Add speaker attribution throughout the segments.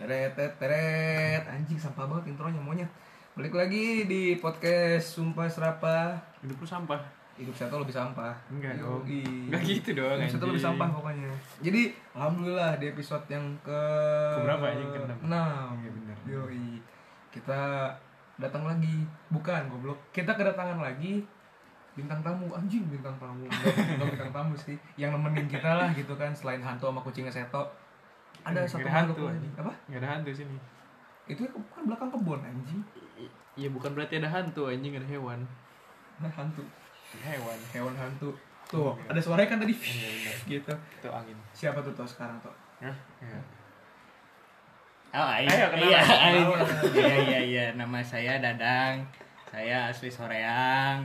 Speaker 1: Teret, teret, teret. Anjing sampah banget intronya monyet. Balik lagi di podcast Sumpah Serapa.
Speaker 2: hidup lu sampah
Speaker 1: Hidup satu lebih sampah.
Speaker 2: Enggak
Speaker 1: Yoi.
Speaker 2: dong. Enggak gitu dong,
Speaker 1: Hidup satu
Speaker 2: anjing.
Speaker 1: lebih sampah pokoknya. Jadi, alhamdulillah di episode yang ke
Speaker 2: Keberapa, anjing? Keenam.
Speaker 1: Enam.
Speaker 2: Iya, bener.
Speaker 1: Yoi. Kita datang lagi. Bukan goblok. Kita kedatangan lagi bintang tamu anjing bintang tamu Enggak, enggak bintang tamu sih yang nemenin kita lah gitu kan selain hantu sama kucingnya seto ada
Speaker 2: Kira-kira
Speaker 1: satu
Speaker 2: hantu,
Speaker 1: makhluk lagi
Speaker 2: anjing.
Speaker 1: apa
Speaker 2: nggak ada hantu sini
Speaker 1: itu ke- kan belakang kebun anjing
Speaker 2: Iya bukan berarti ada hantu anjing ada hewan
Speaker 1: nah hantu
Speaker 2: hewan
Speaker 1: hewan hantu tuh ada suaranya kan tadi
Speaker 3: Iya,
Speaker 1: gitu
Speaker 2: itu angin
Speaker 1: siapa tuh tuh sekarang tuh
Speaker 2: Hah?
Speaker 3: Iya.
Speaker 2: Enggak.
Speaker 3: Oh,
Speaker 2: Ayo,
Speaker 3: ayo, iya,
Speaker 2: kenalan.
Speaker 3: ayo.
Speaker 1: Kenalan.
Speaker 3: iya, iya, iya. Nama saya Dadang. Saya asli Soreang.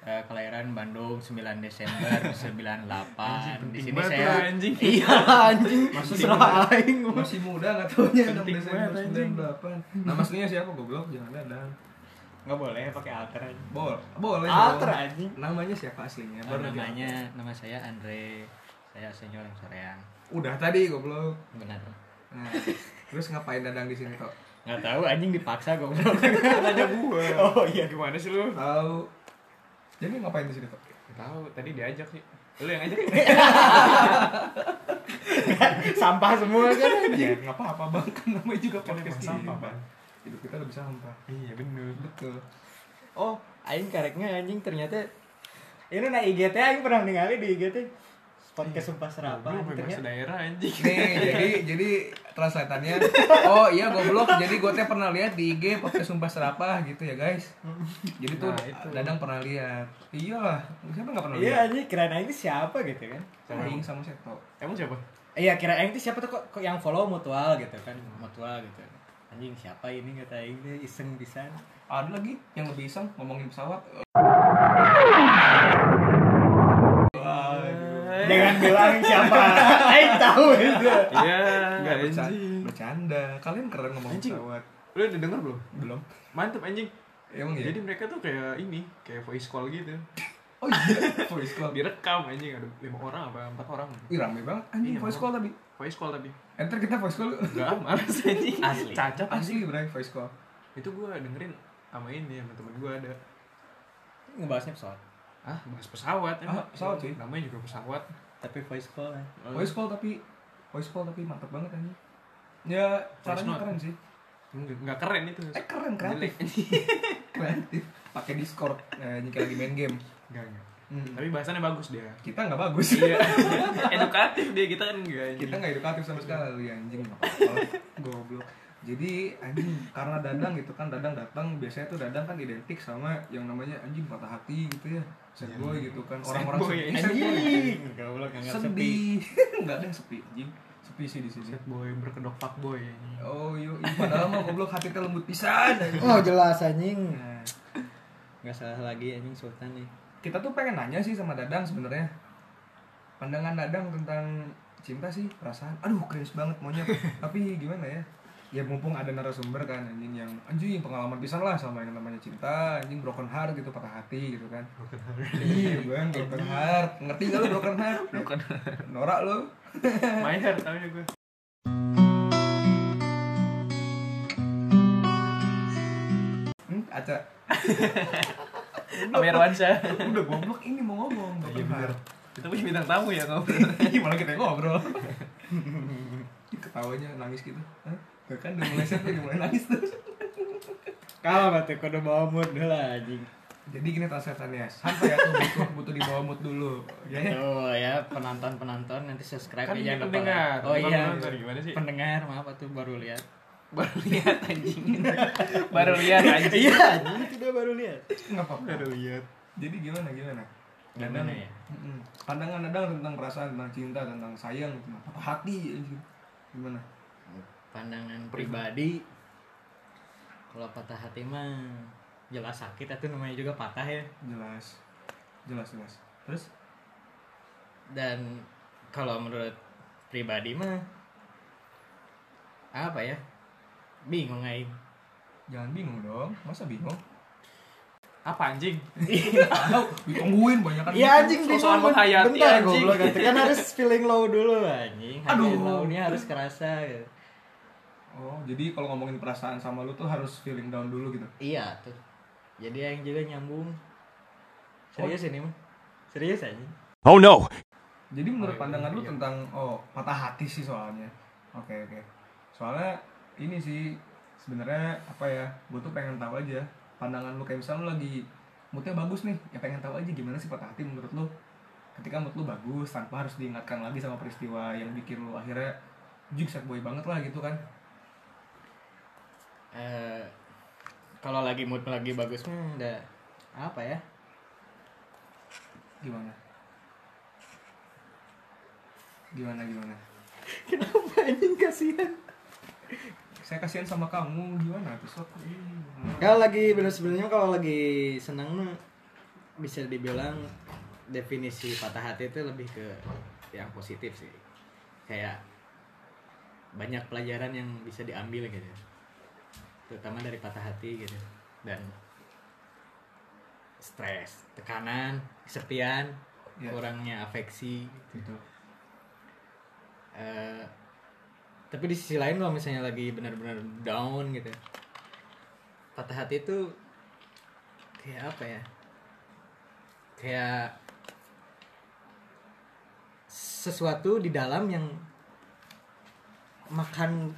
Speaker 3: Eh, kelahiran Bandung 9 Desember 98. Di
Speaker 2: penting
Speaker 3: sini
Speaker 2: banget tuh,
Speaker 3: saya
Speaker 2: anjing.
Speaker 3: Iya, anjing.
Speaker 1: Masuk
Speaker 3: Serah aing.
Speaker 1: masih muda nggak taunya enam
Speaker 2: Penting
Speaker 1: Desember
Speaker 2: banget,
Speaker 1: sembilan
Speaker 2: anjing.
Speaker 1: delapan nama aslinya siapa goblok jangan dadang
Speaker 3: Enggak boleh pakai alter. anjing.
Speaker 1: bol boleh
Speaker 3: Alter
Speaker 1: dong.
Speaker 3: anjing.
Speaker 1: namanya siapa aslinya
Speaker 3: Oh,
Speaker 1: nanti alter.
Speaker 3: namanya nama saya Andre. Saya asli orang Soreang.
Speaker 1: udah tadi goblok
Speaker 3: Benar.
Speaker 1: nah terus ngapain dadang di sini kok
Speaker 3: Enggak tahu anjing dipaksa goblok.
Speaker 2: ada gua
Speaker 3: Oh, iya.
Speaker 2: gimana sih lu
Speaker 1: tahu jadi ngapain di sini kok
Speaker 2: Nggak tahu tadi diajak sih lu yang ajak
Speaker 3: Sampah semua kan.
Speaker 1: ya nggak apa-apa bang kan namanya juga
Speaker 2: Kan emang
Speaker 1: podcast
Speaker 2: sampah,
Speaker 1: sampah
Speaker 2: Bang.
Speaker 1: hidup kita lebih sampah
Speaker 2: iya bener
Speaker 1: betul
Speaker 3: Oh, aing kareknya anjing ternyata ini na IG teh aing pernah ningali di IG teh podcast sumpah serapa
Speaker 2: lu
Speaker 3: anjing,
Speaker 2: bebas
Speaker 3: ternyata
Speaker 2: daerah anjing
Speaker 1: Nih, jadi jadi translatannya oh iya goblok. Jadi gue teh pernah lihat di IG podcast Sumpah Serapah gitu ya, guys. Jadi tuh
Speaker 2: Nah, itu.
Speaker 1: Dadang pernah lihat. Iyalah, siapa nggak pernah
Speaker 3: Iya
Speaker 1: lihat?
Speaker 3: anjing kirain aing teh siapa gitu kan.
Speaker 1: Sama Aing sama Seto.
Speaker 2: emang siapa
Speaker 3: Iya kirain aing teh siapa tuh kok, kok yang follow mutual gitu kan. Mutual gitu. Anjing siapa ini kata aing teh iseng pisan.
Speaker 1: Ada lagi yang lebih iseng ngomongin pesawat.
Speaker 3: Jangan bilang siapa. Aing tahu itu.
Speaker 2: iya
Speaker 3: Ah,
Speaker 1: Nggak, bercanda.
Speaker 2: anjing
Speaker 1: bercanda. Kalian keren ngomongin
Speaker 2: Anjing.
Speaker 1: pesawat.
Speaker 2: lu udah denger belum
Speaker 1: Belum.
Speaker 2: mantep anjing
Speaker 1: Emang ya?
Speaker 3: Iya.
Speaker 2: jadi mereka tuh kayak ini kayak voice call gitu
Speaker 1: oh iya, voice call.
Speaker 2: direkam anjing ada lima orang apa empat orang
Speaker 1: Ih, rame banget. Anjing
Speaker 2: Iya,
Speaker 1: voice
Speaker 2: emang.
Speaker 1: call tapi.
Speaker 2: voice call tapi
Speaker 1: Enter kita voice call. yuk.
Speaker 2: Enggak, males anjing.
Speaker 3: Asli.
Speaker 2: Cacat anjing.
Speaker 1: Asli berarti voice call.
Speaker 2: Itu gue dengerin sama ini sama temen gue ada.
Speaker 3: Ngebahasnya pesawat.
Speaker 2: Ah, bahas pesawat
Speaker 1: Ah, pesawat, cuy.
Speaker 2: Namanya juga pesawat.
Speaker 3: Tapi voice call. ya.
Speaker 1: Voice call tapi voice call tapi mantap banget anjing. Ya, caranya
Speaker 2: note.
Speaker 1: keren sih.
Speaker 2: Enggak, enggak keren itu.
Speaker 1: Eh keren kreatif. kreatif. Pakai Discord eh, nyikir lagi main game.
Speaker 2: Enggak, enggak.
Speaker 1: Hmm.
Speaker 2: Tapi bahasannya bagus dia.
Speaker 1: Kita nggak bagus.
Speaker 2: Iya. Edukatif dia kita kan enggak anjing.
Speaker 1: Kita nggak edukatif sama sekali
Speaker 2: Iya.
Speaker 1: ya, anjing. nggak apa-apa lah. Goblok. Jadi anjing karena Dadang gitu kan Dadang datang biasanya tuh Dadang kan identik sama yang namanya anjing patah hati gitu ya. Sad boy gitu kan
Speaker 2: Iya. Sad
Speaker 1: orang-orang
Speaker 2: boy,
Speaker 1: sedih. sad boy.
Speaker 3: Anjing. Goblok enggak sepi.
Speaker 1: Sedih. Enggak ada yang sepi anjing. Sepi sih di sini.
Speaker 2: Set boy berkedok fuck boy. anjing.
Speaker 1: Oh yo, padahal mah goblok hati teh lembut pisan. anjing.
Speaker 3: Oh jelas anjing.
Speaker 1: Nah,
Speaker 3: Nggak salah lagi anjing Sultan nih.
Speaker 1: kita tuh pengen nanya sih sama Dadang sebenarnya pandangan Dadang tentang cinta sih perasaan aduh cringe banget monyet tapi gimana ya ya mumpung ada narasumber kan anjing yang anjing pengalaman pisan lah sama yang namanya cinta anjing broken heart gitu patah hati gitu kan broken heart iya bang broken heart ngerti gak lu broken heart broken heart norak lu
Speaker 2: Main hard tahunya gue.
Speaker 1: hmm, aca
Speaker 2: Sama Irwansyah.
Speaker 1: udah goblok ini mau ngomong broken heart
Speaker 2: Kita punya bintang tamu ya ngobrol.
Speaker 1: Ih, malah kita yang ngobrol Ih, ketawanya nangis gitu Hah? Tuh kan udah mulai set udah mulai nangis tuh
Speaker 3: Kalah batu kode bawa mood dulu lah anjing.
Speaker 1: jadi gini translatannya santai ya tuh butuh butuh dibawa mood dulu ya ya
Speaker 3: Tuh ya penonton-penonton nanti subscribe
Speaker 2: Kan
Speaker 3: ya
Speaker 2: ini pendengar.
Speaker 3: Oh
Speaker 2: bukan
Speaker 3: iya.
Speaker 2: penonton. Gimana sih?
Speaker 3: Pendengar maaf tuh baru lihat.
Speaker 2: Baru lihat Iya, anjing. Baru lihat anjing.
Speaker 3: Iya, anjing itu dia baru lihat.
Speaker 1: nggak apa-apa
Speaker 2: lihat.
Speaker 1: jadi gimana gimana
Speaker 3: Gimana ya?
Speaker 1: Mm-mm. pandangan Dadang tentang perasaan tentang cinta tentang sayang tentang patah hati anjing. gimana
Speaker 3: Pandangan pribadi kalau patah hati mah jelas sakit atau namanya juga patah ya.
Speaker 1: jelas jelas jelas terus
Speaker 3: Dan kalau menurut pribadi mah apa ya? Bingung aing.
Speaker 1: jangan bingung dong masa bingung
Speaker 2: Apa anjing?
Speaker 1: tahu ditungguin banyak kan
Speaker 3: Iya anjing
Speaker 2: Sosokan
Speaker 3: bingung
Speaker 2: menghayati,
Speaker 3: bentar
Speaker 2: anjing.
Speaker 3: goblok gitu. kan harus feeling low dulu anjing. Aduh,
Speaker 1: Aduh.
Speaker 3: low-nya harus kerasa gitu.
Speaker 1: Oh, jadi kalau ngomongin perasaan sama lu tuh harus feeling down dulu gitu.
Speaker 3: Iya tuh. Jadi yang juga nyambung. Serius ini mah. Serius aja.
Speaker 2: Oh no!
Speaker 1: Jadi menurut
Speaker 3: Oh, iya,
Speaker 1: pandangan lu
Speaker 3: iya.
Speaker 1: tentang oh patah hati sih soalnya. Oke oke. Soalnya ini sih sebenarnya apa ya? Gue tuh pengen tahu aja pandangan lu kayak misalnya lu lagi moodnya bagus nih, ya pengen tahu aja gimana sih patah hati menurut lu ketika mood lu bagus tanpa harus diingatkan lagi sama peristiwa yang bikin lu akhirnya jig sad boy banget lah gitu kan.
Speaker 3: Eh, kalau lagi mood lagi bagus mah udah apa ya?
Speaker 1: Gimana? Gimana gimana?
Speaker 3: Kenapa anjing kasihan?
Speaker 1: Saya kasihan sama kamu gimana tuh sok? Ih,
Speaker 3: Kalau Ya, lagi bener sebenarnya kalau lagi senang mah bisa dibilang definisi patah hati itu lebih ke yang positif sih. Kayak banyak pelajaran yang bisa diambil gitu. Terutama dari patah hati gitu. Dan stres, tekanan, kesepian,
Speaker 1: Ya.
Speaker 3: kurangnya afeksi
Speaker 1: Gitu.
Speaker 3: Eh, tapi di sisi lain kalau misalnya lagi benar-benar down gitu patah hati itu kayak apa ya kayak sesuatu di dalam yang makan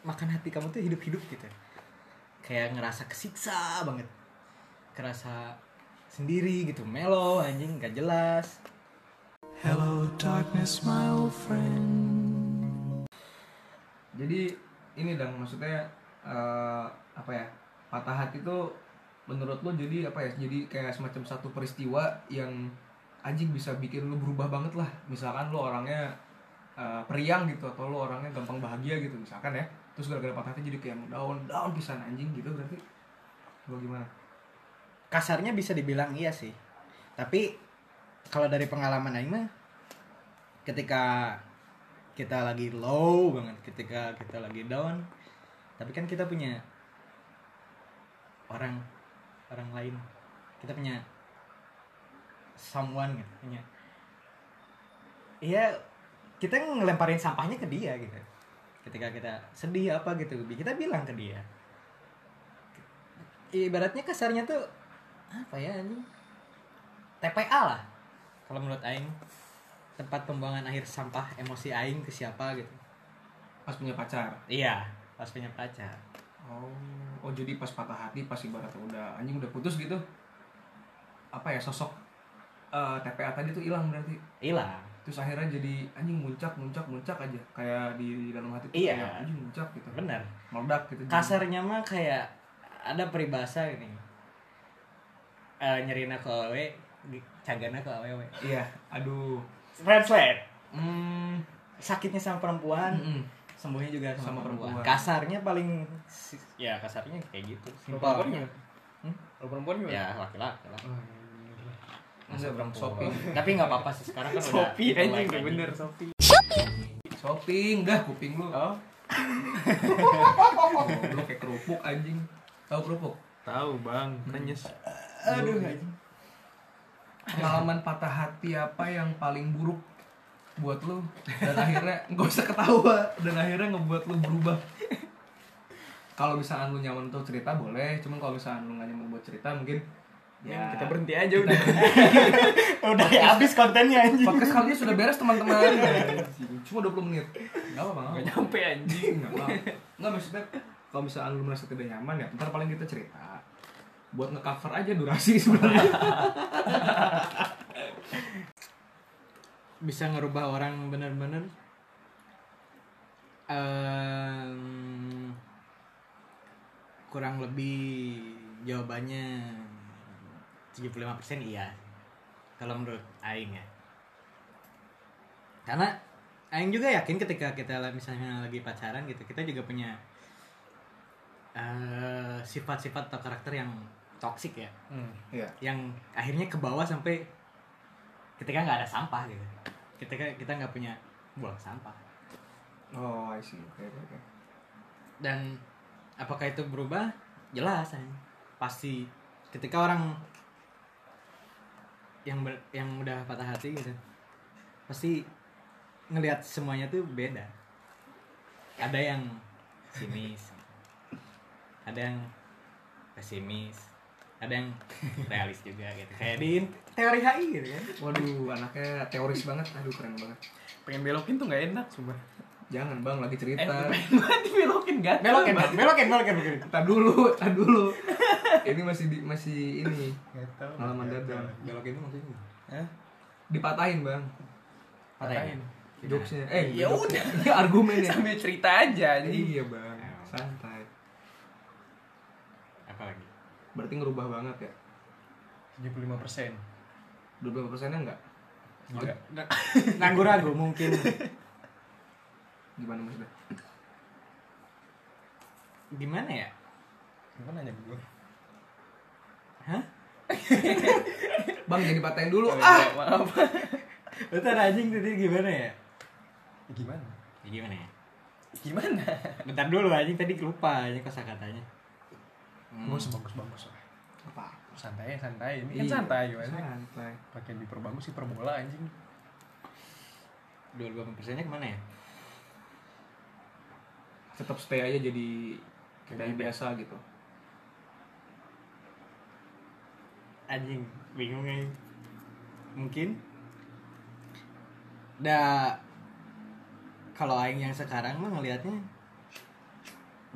Speaker 3: makan hati kamu tuh hidup-hidup gitu kayak ngerasa kesiksa banget kerasa sendiri gitu melo anjing gak jelas
Speaker 1: Jadi ini dong maksudnya eh, apa ya patah hati itu menurut lo jadi apa ya jadi kayak semacam satu peristiwa yang anjing bisa bikin lo berubah banget lah misalkan lo orangnya eh, periang gitu atau lo orangnya gampang bahagia gitu misalkan ya terus gara-gara patah hati jadi kayak down down pisan anjing gitu berarti lo gimana
Speaker 3: kasarnya bisa dibilang iya sih tapi kalau dari pengalaman Aing mah ketika kita lagi low banget ketika kita lagi down tapi kan kita punya orang orang lain kita punya someone gitu punya iya kita ngelemparin sampahnya ke dia gitu ketika kita sedih apa gitu kita bilang ke dia ibaratnya kasarnya tuh apa ya ini TPA lah kalau menurut Aing tempat pembuangan akhir sampah emosi Aing ke siapa gitu
Speaker 1: pas punya pacar
Speaker 3: iya pas punya pacar
Speaker 1: oh oh jadi pas patah hati pas ibaratnya udah anjing udah putus gitu apa ya sosok eh, TPA tadi tuh hilang berarti
Speaker 3: hilang
Speaker 1: terus akhirnya jadi anjing muncak muncak muncak aja kayak di, di dalam hati tuh
Speaker 3: Iya.
Speaker 1: kayak anjing muncak gitu
Speaker 3: bener
Speaker 1: meledak gitu
Speaker 3: kasarnya mah kayak ada peribahasa gini Eh nyerina ke awewe di- cagana ke awewe
Speaker 1: iya aduh
Speaker 3: translate
Speaker 1: hmm,
Speaker 3: sakitnya sama perempuan
Speaker 1: mm-mm.
Speaker 3: sembuhnya juga sama,
Speaker 1: Hmm. Sama
Speaker 3: perempuan.
Speaker 1: perempuan.
Speaker 3: kasarnya paling si- ya kasarnya kayak gitu
Speaker 4: Kalau
Speaker 3: simpel
Speaker 4: perempuan gimana?
Speaker 3: Hmm?
Speaker 4: Kalau perempuan gimana?
Speaker 2: Iya.
Speaker 3: ya laki-laki lah Masa
Speaker 1: Enggak,
Speaker 3: perempuan.
Speaker 1: shopping
Speaker 3: Tapi nggak apa-apa sih sekarang kan udah
Speaker 4: Sopi
Speaker 3: udah
Speaker 4: anjing
Speaker 3: like
Speaker 4: udah
Speaker 3: lagi.
Speaker 4: bener Sopi.
Speaker 1: shopping dah kuping lu
Speaker 4: Oh,
Speaker 1: oh, lu kayak kerupuk anjing tahu kerupuk
Speaker 4: tahu bang, kan nyes.
Speaker 3: Aduh anjing.
Speaker 1: pengalaman patah hati apa yang paling buruk buat lu dan akhirnya gak usah ketawa dan akhirnya ngebuat lu berubah kalau misalkan lu nyaman untuk cerita boleh cuman kalau misalkan lu gak nyaman buat cerita mungkin
Speaker 4: Ya,
Speaker 1: ya
Speaker 4: kita berhenti aja udah.
Speaker 3: Udah ya habis kontennya anjing.
Speaker 1: Podcast kali ini sudah beres teman-teman.
Speaker 4: Iya.
Speaker 1: Cuma 20 menit. Enggak apa-apa.
Speaker 4: Gak
Speaker 1: nggak apa-apa.
Speaker 4: nyampe anjing.
Speaker 1: Nggak apa-apa. Nggak maksudnya kalau misalnya lu merasa tidak nyaman ya ntar paling kita cerita. Buat nge-cover aja durasi sebenarnya.
Speaker 3: Bisa ngerubah orang bener-bener Ehm, kurang lebih jawabannya 75% iya. Kalau menurut aing ya. Karena aing juga yakin ketika kita la- misalnya lagi pacaran gitu, kita juga punya eh, sifat-sifat atau karakter yang toksik ya.
Speaker 2: Hmm.
Speaker 1: Iya.
Speaker 3: yang akhirnya ke bawah sampai ketika nggak ada sampah gitu ketika kita nggak punya buang sampah
Speaker 1: Oh, I see. Oke, oke, oke.
Speaker 3: dan apakah itu berubah jelas Ay. pasti ketika orang yang ber- yang udah patah hati gitu pasti ngelihat semuanya tuh beda ada yang sinis ada yang pesimis ada yang realis juga gitu kayak di teori HI gitu kan
Speaker 1: Waduh, anaknya teoris banget. Aduh, keren banget.
Speaker 4: Pengen belokin tuh nggak enak, sumpah.
Speaker 1: Jangan bang, lagi
Speaker 4: Eh,
Speaker 1: cerita.
Speaker 4: pengen banget dibelokin gatel.
Speaker 3: belokin
Speaker 4: banget.
Speaker 3: belokin belokin belokin
Speaker 1: Tar dulu, tar dulu. Ini masih di, masih ini
Speaker 2: Gatel.
Speaker 1: pengalaman dadang.
Speaker 3: belokin itu maksudnya
Speaker 4: Hah?
Speaker 1: Dipatahin bang,
Speaker 3: patahin Nah,
Speaker 1: jokesnya. Eh,
Speaker 4: Ya
Speaker 1: bukan
Speaker 4: udah.
Speaker 1: jokesnya. Ini argumennya.
Speaker 4: Sambil cerita aja anjing.
Speaker 2: Eh,
Speaker 1: Iya bang, santai.
Speaker 3: apa lagi
Speaker 1: Berarti ngerubah banget ya?
Speaker 2: 75 persen.
Speaker 1: 25 persennya enggak?
Speaker 2: Enggak.
Speaker 3: ragu mungkin
Speaker 1: Gimana maksudnya?
Speaker 3: gimana ya
Speaker 2: Gimana nanya gue?
Speaker 3: hah
Speaker 1: Bang, jadi patahin dulu. Ah!
Speaker 4: Ah, maaf.
Speaker 3: bentar anjing tadi gimana ya
Speaker 2: Ya, gimana?
Speaker 3: Ya, gimana ya
Speaker 4: Gimana?
Speaker 3: bentar dulu anjing tadi lupa anjing kosakatanya
Speaker 4: Hmm.
Speaker 2: Gue sebagus-bagus lah.
Speaker 1: Apa?
Speaker 2: Santai, santai. Ini kan
Speaker 1: Iya,
Speaker 2: santai gimana?
Speaker 1: Santai.
Speaker 2: Pakai diperbagus hiperbola anjing.
Speaker 3: dua puluh persennya kemana ya
Speaker 1: Tetap stay aja jadi kita yang biasa gitu.
Speaker 3: anjing bingung anjing mungkin da kalau aing yang sekarang mah ngelihatnya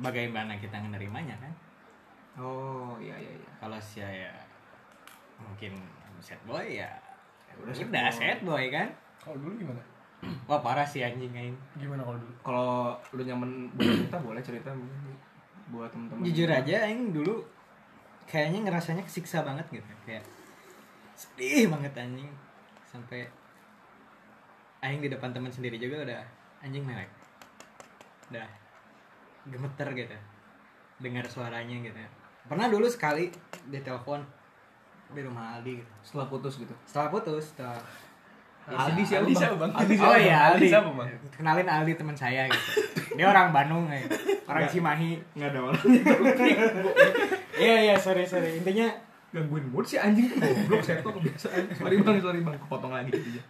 Speaker 3: bagaimana kita menerimanya kan
Speaker 1: Oh, iya iya iya.
Speaker 3: kalau saya mungkin set boy ya
Speaker 1: Ya
Speaker 3: udah,
Speaker 1: sih,
Speaker 3: udah
Speaker 1: Bang.
Speaker 3: set boy kan
Speaker 2: Kalau dulu gimana?
Speaker 3: wah parah sih anjing aing
Speaker 2: Gimana kalau dulu?
Speaker 1: Kalau lu nyaman boleh cerita, boleh cerita mungkin buat teman-teman.
Speaker 3: jujur aja aing dulu kayaknya ngerasanya kesiksa banget gitu kayak sedih banget anjing sampai aing di depan teman sendiri juga udah anjing melek udah gemeter gitu dengar suaranya gitu pernah dulu sekali ditelepon di rumah Aldi gitu.
Speaker 1: Setelah putus gitu.
Speaker 3: setelah putus setelah
Speaker 1: Aldi siapa,
Speaker 4: Aldi
Speaker 1: Bang?
Speaker 4: siapa, Bang?
Speaker 1: Aldi siapa?
Speaker 3: oh iya
Speaker 4: Aldi
Speaker 3: Aldi
Speaker 4: siapa, Bang?
Speaker 3: kenalin Aldi teman saya gitu dia orang Bandung ya. orang Cimahi
Speaker 1: Nggak ada orangnya.
Speaker 3: iya iya sorry sorry intinya
Speaker 1: Gangguin mood sih anjing tuh goblok seto kebiasaan. Sorry Bang, sorry Bang, kepotong lagi gitu aja.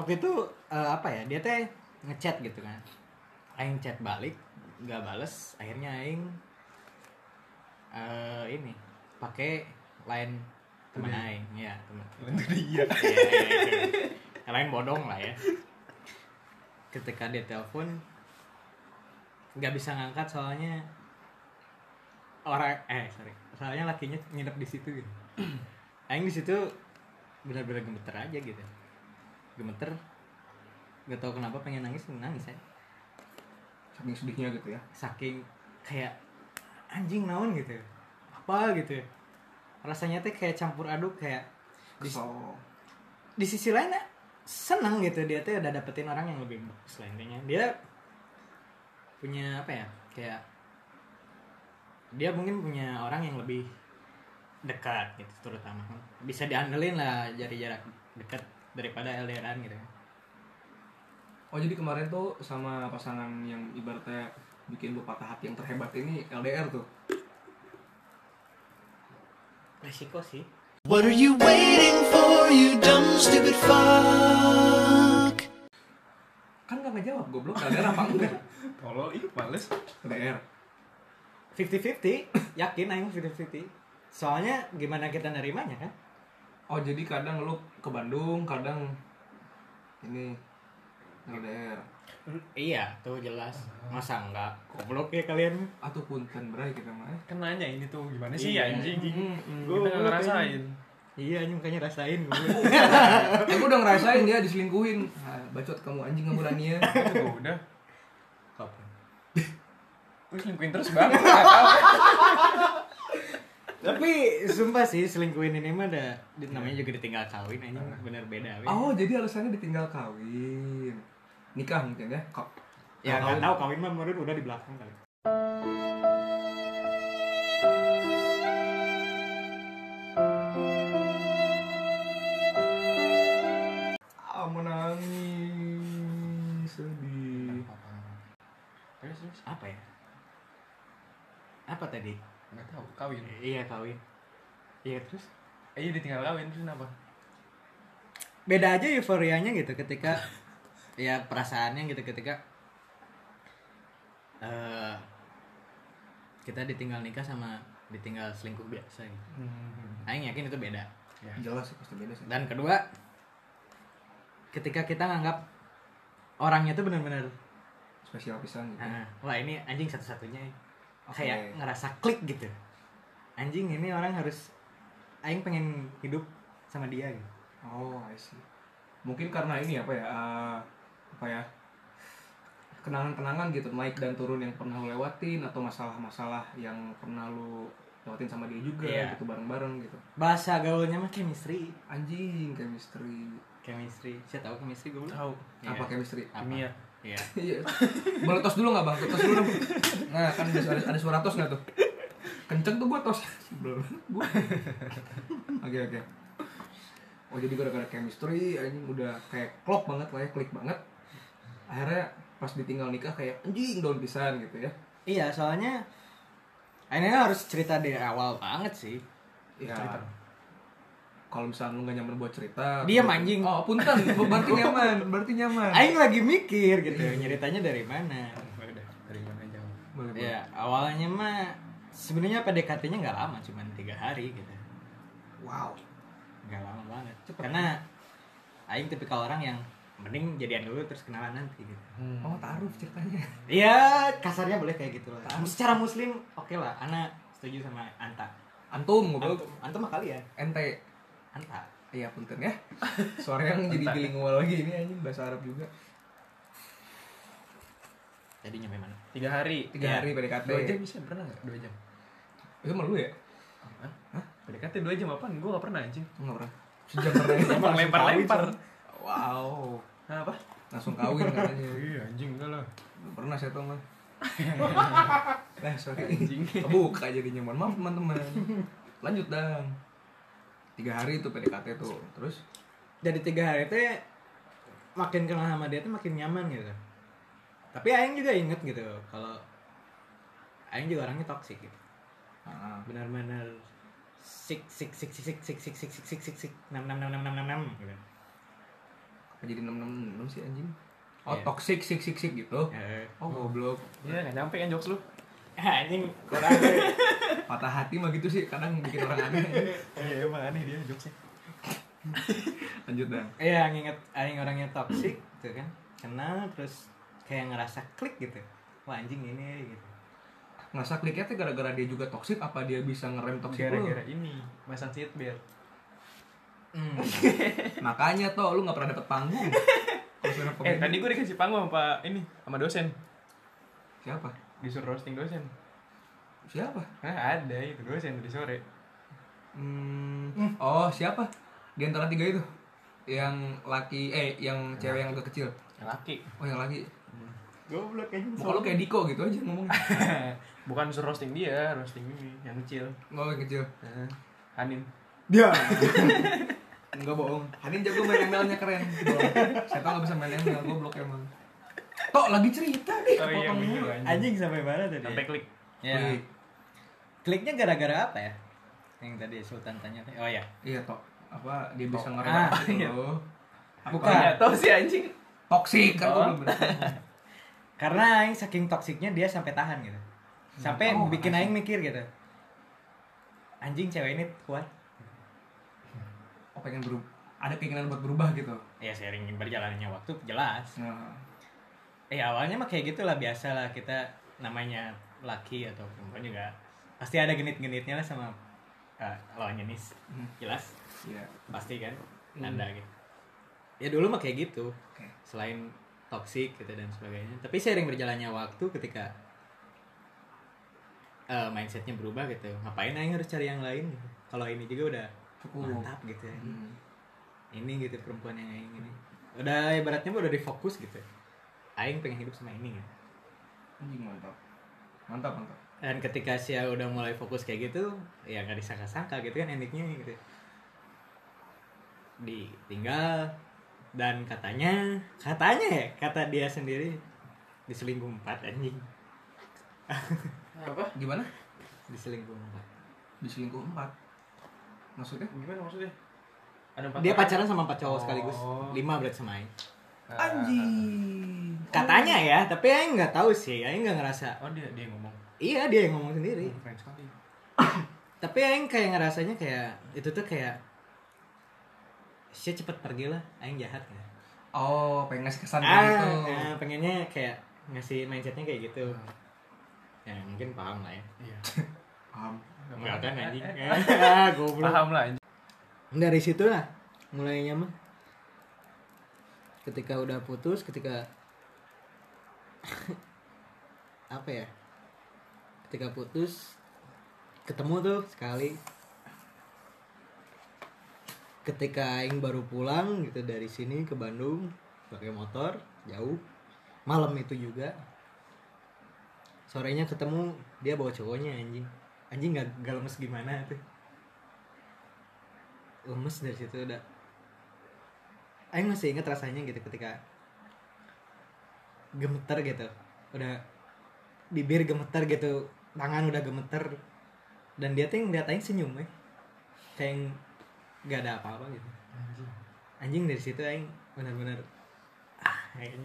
Speaker 3: waktu itu eh, apa ya dia teh ngechat gitu kan aing chat balik nggak bales akhirnya aing eh, ini pakai lain teman aing ya teman
Speaker 2: Iya.
Speaker 3: Iya, iya, iya. lain bodong lah ya ketika dia telepon nggak bisa ngangkat soalnya orang eh sorry soalnya lakinya nginep di situ gitu aing di situ benar-benar gemeter aja gitu gemeter nggak tahu kenapa pengen nangis nangis ya
Speaker 1: Saking sedihnya gitu ya.
Speaker 3: saking kayak anjing naon gitu apa gitu rasanya teh kayak campur aduk kayak di-
Speaker 1: Kesel.
Speaker 3: di sisi lain senang gitu dia tuh udah dapetin orang yang lebih bagus lah intinya dia punya apa ya kayak dia mungkin punya orang yang lebih dekat gitu terutama bisa diandelin lah dari jarak dekat daripada LDRan gitu
Speaker 1: Oh, jadi kemarin tuh sama pasangan yang ibaratnya bikin lu patah hati yang terhebat ini LDR tuh.
Speaker 3: resiko sih
Speaker 5: What are you waiting for, you dumb, stupid fuck?
Speaker 1: Kan nggak ngejawab goblok LDR apa enggak?
Speaker 2: Tolol, ih males.
Speaker 1: LDR.
Speaker 3: 50-50 yakin aing 50-50 soalnya gimana kita nerimanya kan
Speaker 1: Oh jadi kadang lu ke Bandung, kadang ini LDR.
Speaker 3: iya tuh jelas masa enggak goblok ya kalian
Speaker 1: Atau punten berai kita mah. eh.
Speaker 2: Kan nanya ini tuh gimana sih
Speaker 3: Iya.
Speaker 2: anjing?
Speaker 1: Mm-mm.
Speaker 2: Gue nggak ngerasain.
Speaker 3: iya ini makanya rasain gue
Speaker 1: Aku udah ngerasain dia diselingkuhin. Ah, bacot kamu anjing kamu Rania.
Speaker 2: Gue udah.
Speaker 3: Kapan?
Speaker 2: Gue selingkuhin terus bang.
Speaker 3: Tapi sumpah sih selingkuhin ini mah ada namanya juga ditinggal kawin aja bener beda. we.
Speaker 1: Oh jadi alasannya ditinggal kawin. Nikah mungkin ya. Kok
Speaker 3: ya
Speaker 1: kawin.
Speaker 3: nggak tahu kawin mah menurut udah di belakang kali.
Speaker 1: ah, menangis sedih.
Speaker 2: Terus terus.
Speaker 3: Apa ya? Apa tadi?
Speaker 2: Nggak tahu kawin.
Speaker 3: Eh, Iya kawin. Iya terus?
Speaker 2: Eh iya ditinggal kawin terus kenapa?
Speaker 3: Beda aja euforianya gitu ketika ya perasaannya gitu ketika eh kita ditinggal nikah sama ditinggal selingkuh biasa gitu.
Speaker 2: Hmm.
Speaker 3: Aing yakin itu beda.
Speaker 1: jelas sih pasti beda sih
Speaker 3: Dan kedua, ketika kita nganggap orangnya tuh benar-benar
Speaker 1: spesial pisan gitu
Speaker 3: "Ah, wah ini anjing satu-satunya ya."
Speaker 1: Oke.
Speaker 3: kayak ngerasa klik gitu. Anjing ini orang harus aing pengen hidup sama dia gitu.
Speaker 1: oh I see mungkin karena ini apa ya eh, apa ya kenangan-kenangan gitu naik dan turun yang pernah lu lewatin atau masalah-masalah yang pernah lu lewatin sama dia juga
Speaker 3: Iya.
Speaker 1: gitu bareng-bareng gitu
Speaker 3: Bahasa gaulnya mah chemistry.
Speaker 1: anjing chemistry
Speaker 3: Chemistry. Saya tahu chemistry gue
Speaker 2: Tahu.
Speaker 1: apa chemistry
Speaker 2: Kimia.
Speaker 3: Iya.
Speaker 1: Iya. Boleh tos dulu nggak bang? Tos dulu dong. Nah kan ada, ada, ada suara tos nggak tuh? Kenceng tuh gua tos. Belum. Gua. Oke oke. Oh jadi gara-gara chemistry anjing udah kayak klop banget lah ya, klik banget. Akhirnya pas ditinggal nikah kayak anjing daun pisan gitu ya.
Speaker 3: Iya, soalnya akhirnya harus cerita dari awal banget sih.
Speaker 1: Ya. Kalau misalnya lu gak nyaman buat cerita
Speaker 3: Diam, anjing.
Speaker 1: Oh punten, berarti nyaman, berarti nyaman
Speaker 3: Aing lagi mikir gitu, nyeritanya dari mana.
Speaker 2: Udah, dari mana aja.
Speaker 1: Boleh, boleh.
Speaker 3: Ya, awalnya mah sebenarnya PDKT-nya nggak lama, cuman tiga hari gitu.
Speaker 1: Wow
Speaker 3: Nggak lama banget. Karena Aing tipikal orang yang mending jadian dulu terus kenalan nanti gitu.
Speaker 1: Oh taruh ceritanya
Speaker 3: Iya, kasarnya boleh kayak gitu lah. Secara muslim, oke lah. Ana setuju sama Anta.
Speaker 1: Antum ngobrol
Speaker 3: Antum, antum mah kalian.
Speaker 1: Ente
Speaker 3: Anta.
Speaker 1: Iya punten ya. Suara yang jadi bilingual lagi ini anjing bahasa Arab juga.
Speaker 3: Jadi nyampe mana?
Speaker 2: Tiga hari.
Speaker 1: Tiga
Speaker 3: Iya.
Speaker 1: hari PDKT.
Speaker 2: Dua jam bisa pernah nggak? Dua jam.
Speaker 1: Itu malu ya?
Speaker 2: Hah? PDKT dua jam apaan? Gue gak pernah anjing.
Speaker 1: Enggak pernah. Sejam pernah.
Speaker 2: Emang lempar-lempar.
Speaker 1: wow.
Speaker 2: Nah, apa?
Speaker 1: Langsung kawin katanya.
Speaker 2: Iya anjing enggak lah.
Speaker 1: Belum pernah saya tahu mah. Nah, sorry.
Speaker 2: Anjing.
Speaker 1: Kebuka jadinya. Mohon maaf teman-teman. Lanjut dong. Tiga hari itu PDKT tuh. Terus
Speaker 3: dari tiga hari teh makin kenal sama dia tuh makin nyaman gitu tapi Aing juga inget gitu kalau Aing juga orangnya toksik gitu
Speaker 1: ah,
Speaker 3: benar-benar sik sik sik sik sik sik sik sik sik sik sik sik enam enam enam enam enam enam enam gitu.
Speaker 1: apa jadi 666 sih anjing? Oh,
Speaker 3: Iya.
Speaker 1: toxic, sik, sik, sik gitu.
Speaker 3: Eh,
Speaker 1: Oh, goblok.
Speaker 2: Iya nggak nyampe kan jokes lu.
Speaker 3: anjing kurang deh.
Speaker 1: Patah hati mah gitu sih. Kadang bikin orang aneh.
Speaker 2: Iya emang aneh dia jokesnya.
Speaker 1: Lanjut dong.
Speaker 3: iya nginget Aing orangnya toksik gitu kan kenal terus kayak ngerasa klik gitu wah anjing ini gitu
Speaker 1: ngerasa kliknya tuh gara-gara dia juga toksik apa dia bisa ngerem toksik lu
Speaker 2: Gara-gara ini masang seatbelt.
Speaker 3: Hmm.
Speaker 1: makanya toh lu nggak pernah dapet panggung Kalau seorang
Speaker 2: Eh
Speaker 1: pemain-
Speaker 2: tadi gue dikasih panggung sama ini sama dosen.
Speaker 1: siapa
Speaker 2: Disuruh roasting dosen.
Speaker 1: siapa
Speaker 2: Nah ada itu dosen tadi sore.
Speaker 1: Hmm, oh siapa di antara tiga itu yang laki eh yang cewek yang agak kecil
Speaker 2: Laki.
Speaker 1: oh yang laki
Speaker 3: goblok anjing
Speaker 1: muka lu kayak Diko gitu aja ngomongnya
Speaker 2: Bukan suruh roasting dia, roasting ini yang kecil.
Speaker 1: oh yang kecil
Speaker 2: Nah, Hanin.
Speaker 3: dia enggak bohong
Speaker 1: Hanin jago main ML-nya keren saya tau nggak bisa main ML goblok emang Tok lagi cerita nih
Speaker 2: Oh iya
Speaker 1: kepotong
Speaker 2: bener
Speaker 1: mulu.
Speaker 2: anjing.
Speaker 3: anjing sampai mana tadi
Speaker 2: Sampai klik.
Speaker 3: Ya.
Speaker 1: Klik.
Speaker 3: Kliknya gara-gara apa ya? Yang tadi Sultan tanya. teh. Oh ya.
Speaker 1: iya Tok apa dia bisa ngerem gitu. toksik
Speaker 3: Ah, iya.
Speaker 1: lu
Speaker 3: Bukan.
Speaker 2: Gak tau Iya, sih anjing.
Speaker 1: toksik kan gua belum bener.
Speaker 3: Karena aing saking toksiknya dia sampai tahan gitu. Sampai
Speaker 1: Oh,
Speaker 3: bikin aing mikir gitu. Anjing cewek ini kuat.
Speaker 1: oh pengen berubah ada keinginan buat berubah gitu
Speaker 3: Ya sering berjalannya waktu jelas.
Speaker 1: nah,
Speaker 3: Eh awalnya mah kayak gitulah biasa lah kita namanya laki atau perempuan juga pasti ada genit-genitnya lah sama eh, lawan jenis.
Speaker 1: Hmm.
Speaker 3: Jelas.
Speaker 1: ya
Speaker 3: Pasti kan.
Speaker 1: Hmm.
Speaker 3: Nanda gitu. Ya dulu mah kayak gitu.
Speaker 1: oke
Speaker 3: selain toksik gitu dan sebagainya tapi sering berjalannya waktu ketika eh, mindsetnya berubah gitu ngapain aing harus cari yang lain gitu. kalau ini juga udah
Speaker 1: cukup
Speaker 3: mantap gitu ya.
Speaker 1: Hmm.
Speaker 3: ini gitu perempuan yang aing ini udah ibaratnya udah difokus gitu aing pengen hidup sama ini gitu.
Speaker 1: anjing mantap mantap mantap
Speaker 3: dan ketika sia udah mulai fokus kayak gitu ya gak disangka-sangka gitu kan endingnya gitu ditinggal dan katanya katanya ya kata dia sendiri diselingkuh empat anjing
Speaker 2: Apa?
Speaker 1: gimana
Speaker 3: diselingkuh empat
Speaker 1: diselingkuh empat maksudnya
Speaker 2: Gimana maksudnya? Ada empat
Speaker 3: dia
Speaker 2: orang.
Speaker 3: pacaran sama empat cowok sekaligus
Speaker 2: Oh.
Speaker 3: lima berarti sama Aing
Speaker 2: Ah.
Speaker 1: Anjing.
Speaker 3: Katanya ya, tapi Aing nggak tahu sih. Aing nggak ngerasa.
Speaker 2: Oh dia dia yang ngomong.
Speaker 3: Iya dia yang ngomong sendiri.
Speaker 2: Keren sekali.
Speaker 3: Tapi Aing kayak ngerasanya kayak itu tuh kayak saya cepet pergi lah. Aing jahat ya.
Speaker 1: Oh, pengen ngasih kesan kayak
Speaker 3: Ah,
Speaker 1: gitu. Hmm.
Speaker 3: ah, pengennya kayak ngasih mindsetnya kayak gitu. Ya mungkin paham lah ya.
Speaker 2: Iya.
Speaker 1: Paham.
Speaker 3: Enggak kan anjing.
Speaker 2: Eh,
Speaker 3: Ah, Goblok.
Speaker 2: Paham lah anjing.
Speaker 3: dari situ lah mulainya mah ketika udah putus ketika apa ya ketika putus ketemu tuh sekali ketika Aing baru pulang gitu dari sini ke Bandung pakai motor jauh malam itu juga sorenya ketemu dia bawa cowoknya anjing anjing gak, gak lemes gimana tuh lemes dari situ udah Aing masih inget rasanya gitu ketika gemeter gitu udah bibir gemeter gitu tangan udah gemeter dan dia tuh ngeliat Aing senyum ya kayak yang nggak ada apa-apa gitu anjing dari situ Aing benar-benar ah Aing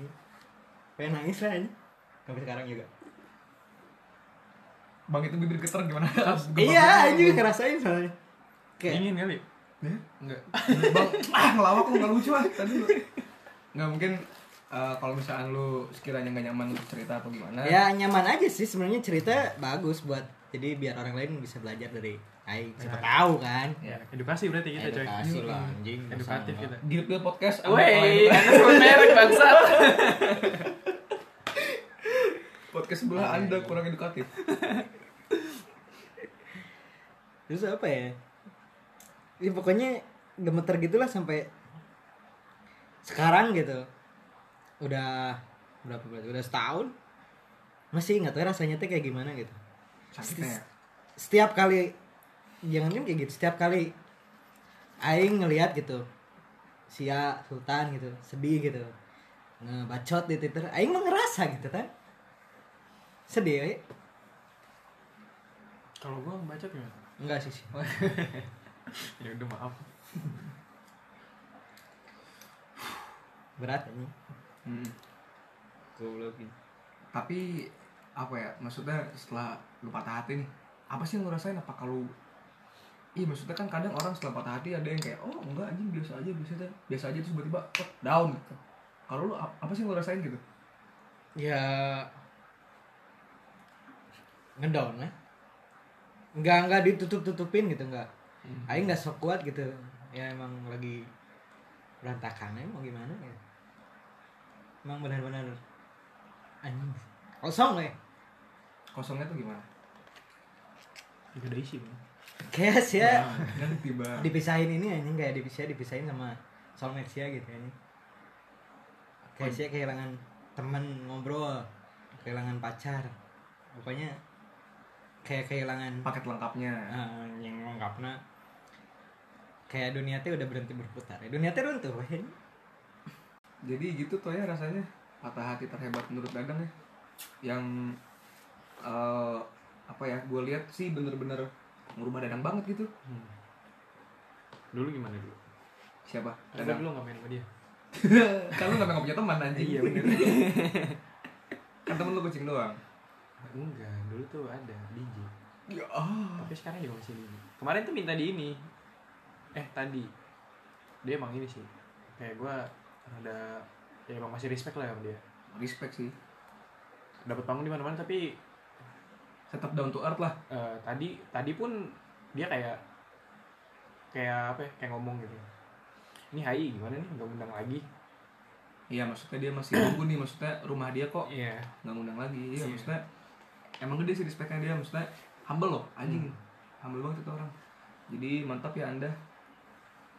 Speaker 3: pengen nangis lah Aing sampai sekarang juga
Speaker 1: Bang itu bibir geter gimana?
Speaker 3: iya Aing juga ngerasain soalnya kayak
Speaker 2: Dingin kali.
Speaker 1: Ya? Enggak. Bang, ah ngelawak lu enggak lucu ah tadi lu. Enggak mungkin eh, kalau misalkan lu sekiranya nggak nyaman untuk cerita atau gimana.
Speaker 3: ya nyaman aja sih sebenarnya cerita bagus buat jadi biar orang lain bisa belajar dari Aing
Speaker 2: Nah.
Speaker 3: siapa tahu kan
Speaker 1: Ya.
Speaker 2: Edukasi berarti kita coy.
Speaker 3: edukasi lah anjing
Speaker 2: Iya, Edukatif kita.
Speaker 1: Di Repeal podcast ada
Speaker 4: Woi,
Speaker 1: orang-
Speaker 4: anda sebut merek bangsa.
Speaker 1: podcast sebelah Anda kurang edukatif.
Speaker 3: terus apa ya ya pokoknya gemeter gitulah sampai sekarang gitu udah berapa berarti udah setahun masih ingat ya rasanya tuh kayak gimana gitu
Speaker 1: Sakitnya. ya?
Speaker 3: setiap kali jangan kan kayak gitu setiap kali aing ngelihat gitu sia sultan gitu sedih gitu ngebacot di twitter aing mah ngerasa gitu kan sedih ya
Speaker 2: Kalau gua baca gimana?
Speaker 3: enggak sih sih.
Speaker 2: Ya udah maaf.
Speaker 3: berat ini
Speaker 1: Hmm. Tapi apa ya? Maksudnya setelah lu patah hati nih, apa sih yang lu rasain? Apa kalau Iya maksudnya kan kadang orang setelah patah hati ada yang kayak oh enggak anjing biasa aja biasa aja biasa aja terus tiba-tiba oh, down gitu. Kalau lu ap- apa sih yang lu rasain gitu?
Speaker 3: ya ngedown lah nggak nggak ditutup tutupin gitu nggak aing nggak sok kuat gitu ya emang lagi berantakan ya mau gimana ya emang benar-benar anjing kosong ya
Speaker 1: Kosongnya tuh gimana?
Speaker 2: Gak ada isi bang.
Speaker 3: kayak sih ya
Speaker 1: Dan Kan tiba
Speaker 3: dipisahin ini anjing kayak dipisahin dipisahin sama soulmate sia gitu anjing kayak sia kehilangan teman ngobrol kehilangan pacar pokoknya kayak kehilangan
Speaker 1: paket lengkapnya.
Speaker 3: Ah, yang lengkapnya kayak dunia teh udah berhenti berputar ya. dunia teh runtuh weh.
Speaker 1: Jadi gitu tuh ya rasanya patah hati terhebat menurut Dadang ya. Yang eh, apa ya? Gue lihat sih bener-bener ngurubah Dadang banget gitu.
Speaker 2: Hmm. Dulu gimana dulu?
Speaker 1: Siapa?
Speaker 2: Karena
Speaker 1: Dadang.
Speaker 2: dulu nggak main sama dia.
Speaker 1: kan lu namanya nggak punya teman anjing.
Speaker 2: Iya, bener.
Speaker 1: kan temen lu kucing doang.
Speaker 2: Enggak, dulu tuh ada DJ.
Speaker 1: Ya.
Speaker 2: Tapi sekarang juga masih DJ. Kemarin tuh minta di ini. Eh tadi dia emang ini sih. Kayak gua ada ya emang masih respect lah sama dia.
Speaker 1: Respect sih.
Speaker 2: Dapat panggung di mana-mana tapi
Speaker 1: Tetap down to earth lah.
Speaker 2: eh, tadi tadi pun dia kayak kayak apa ya kayak ngomong gitu ini Hai gimana nih nggak ngundang lagi
Speaker 1: Iya maksudnya dia masih nunggu nih maksudnya rumah dia kok
Speaker 2: iya
Speaker 1: nggak ngundang lagi. Iya
Speaker 2: Iya.
Speaker 1: maksudnya emang gede sih respectnya dia maksudnya humble loh anjing. Humble banget itu orang. Jadi mantap ya Anda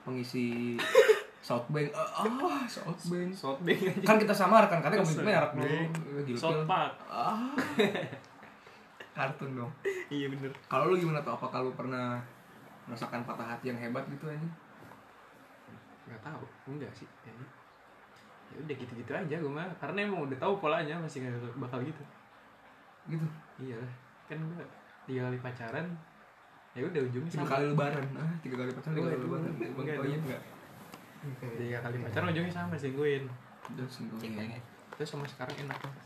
Speaker 1: pengisi South Bank. Eh, Ah, South Bank.
Speaker 2: South Bank aja
Speaker 1: Kan kita samarkan katanya kamu itu
Speaker 2: South
Speaker 1: merek dulu.
Speaker 2: Bank.
Speaker 1: Gila,
Speaker 2: South
Speaker 1: Pil.
Speaker 2: Park
Speaker 1: Ah. Kartun dong.
Speaker 2: iya bener
Speaker 1: Kalau lu gimana tuh? Apakah lu pernah merasakan patah hati yang hebat gitu aja?
Speaker 2: nggak tahu enggak sih kayaknya ya udah gitu-gitu aja gue mah karena emang udah tahu polanya masih nggak bakal gitu
Speaker 1: Gitu.
Speaker 2: iya lah kan gue tiga kali pacaran ya udah ujungnya
Speaker 1: Tiga
Speaker 2: sama
Speaker 1: kali lebaran. Ah, tiga kali pacaran, tiga kali
Speaker 2: Waduh,
Speaker 1: lebaran. Bang
Speaker 2: enggak
Speaker 1: Toyib
Speaker 2: dong.
Speaker 1: enggak?
Speaker 2: tiga kali pacaran ujungnya sama sih gue
Speaker 1: udah single
Speaker 4: Cek
Speaker 1: ini.
Speaker 4: lagi.
Speaker 2: terus sama sekarang enak banget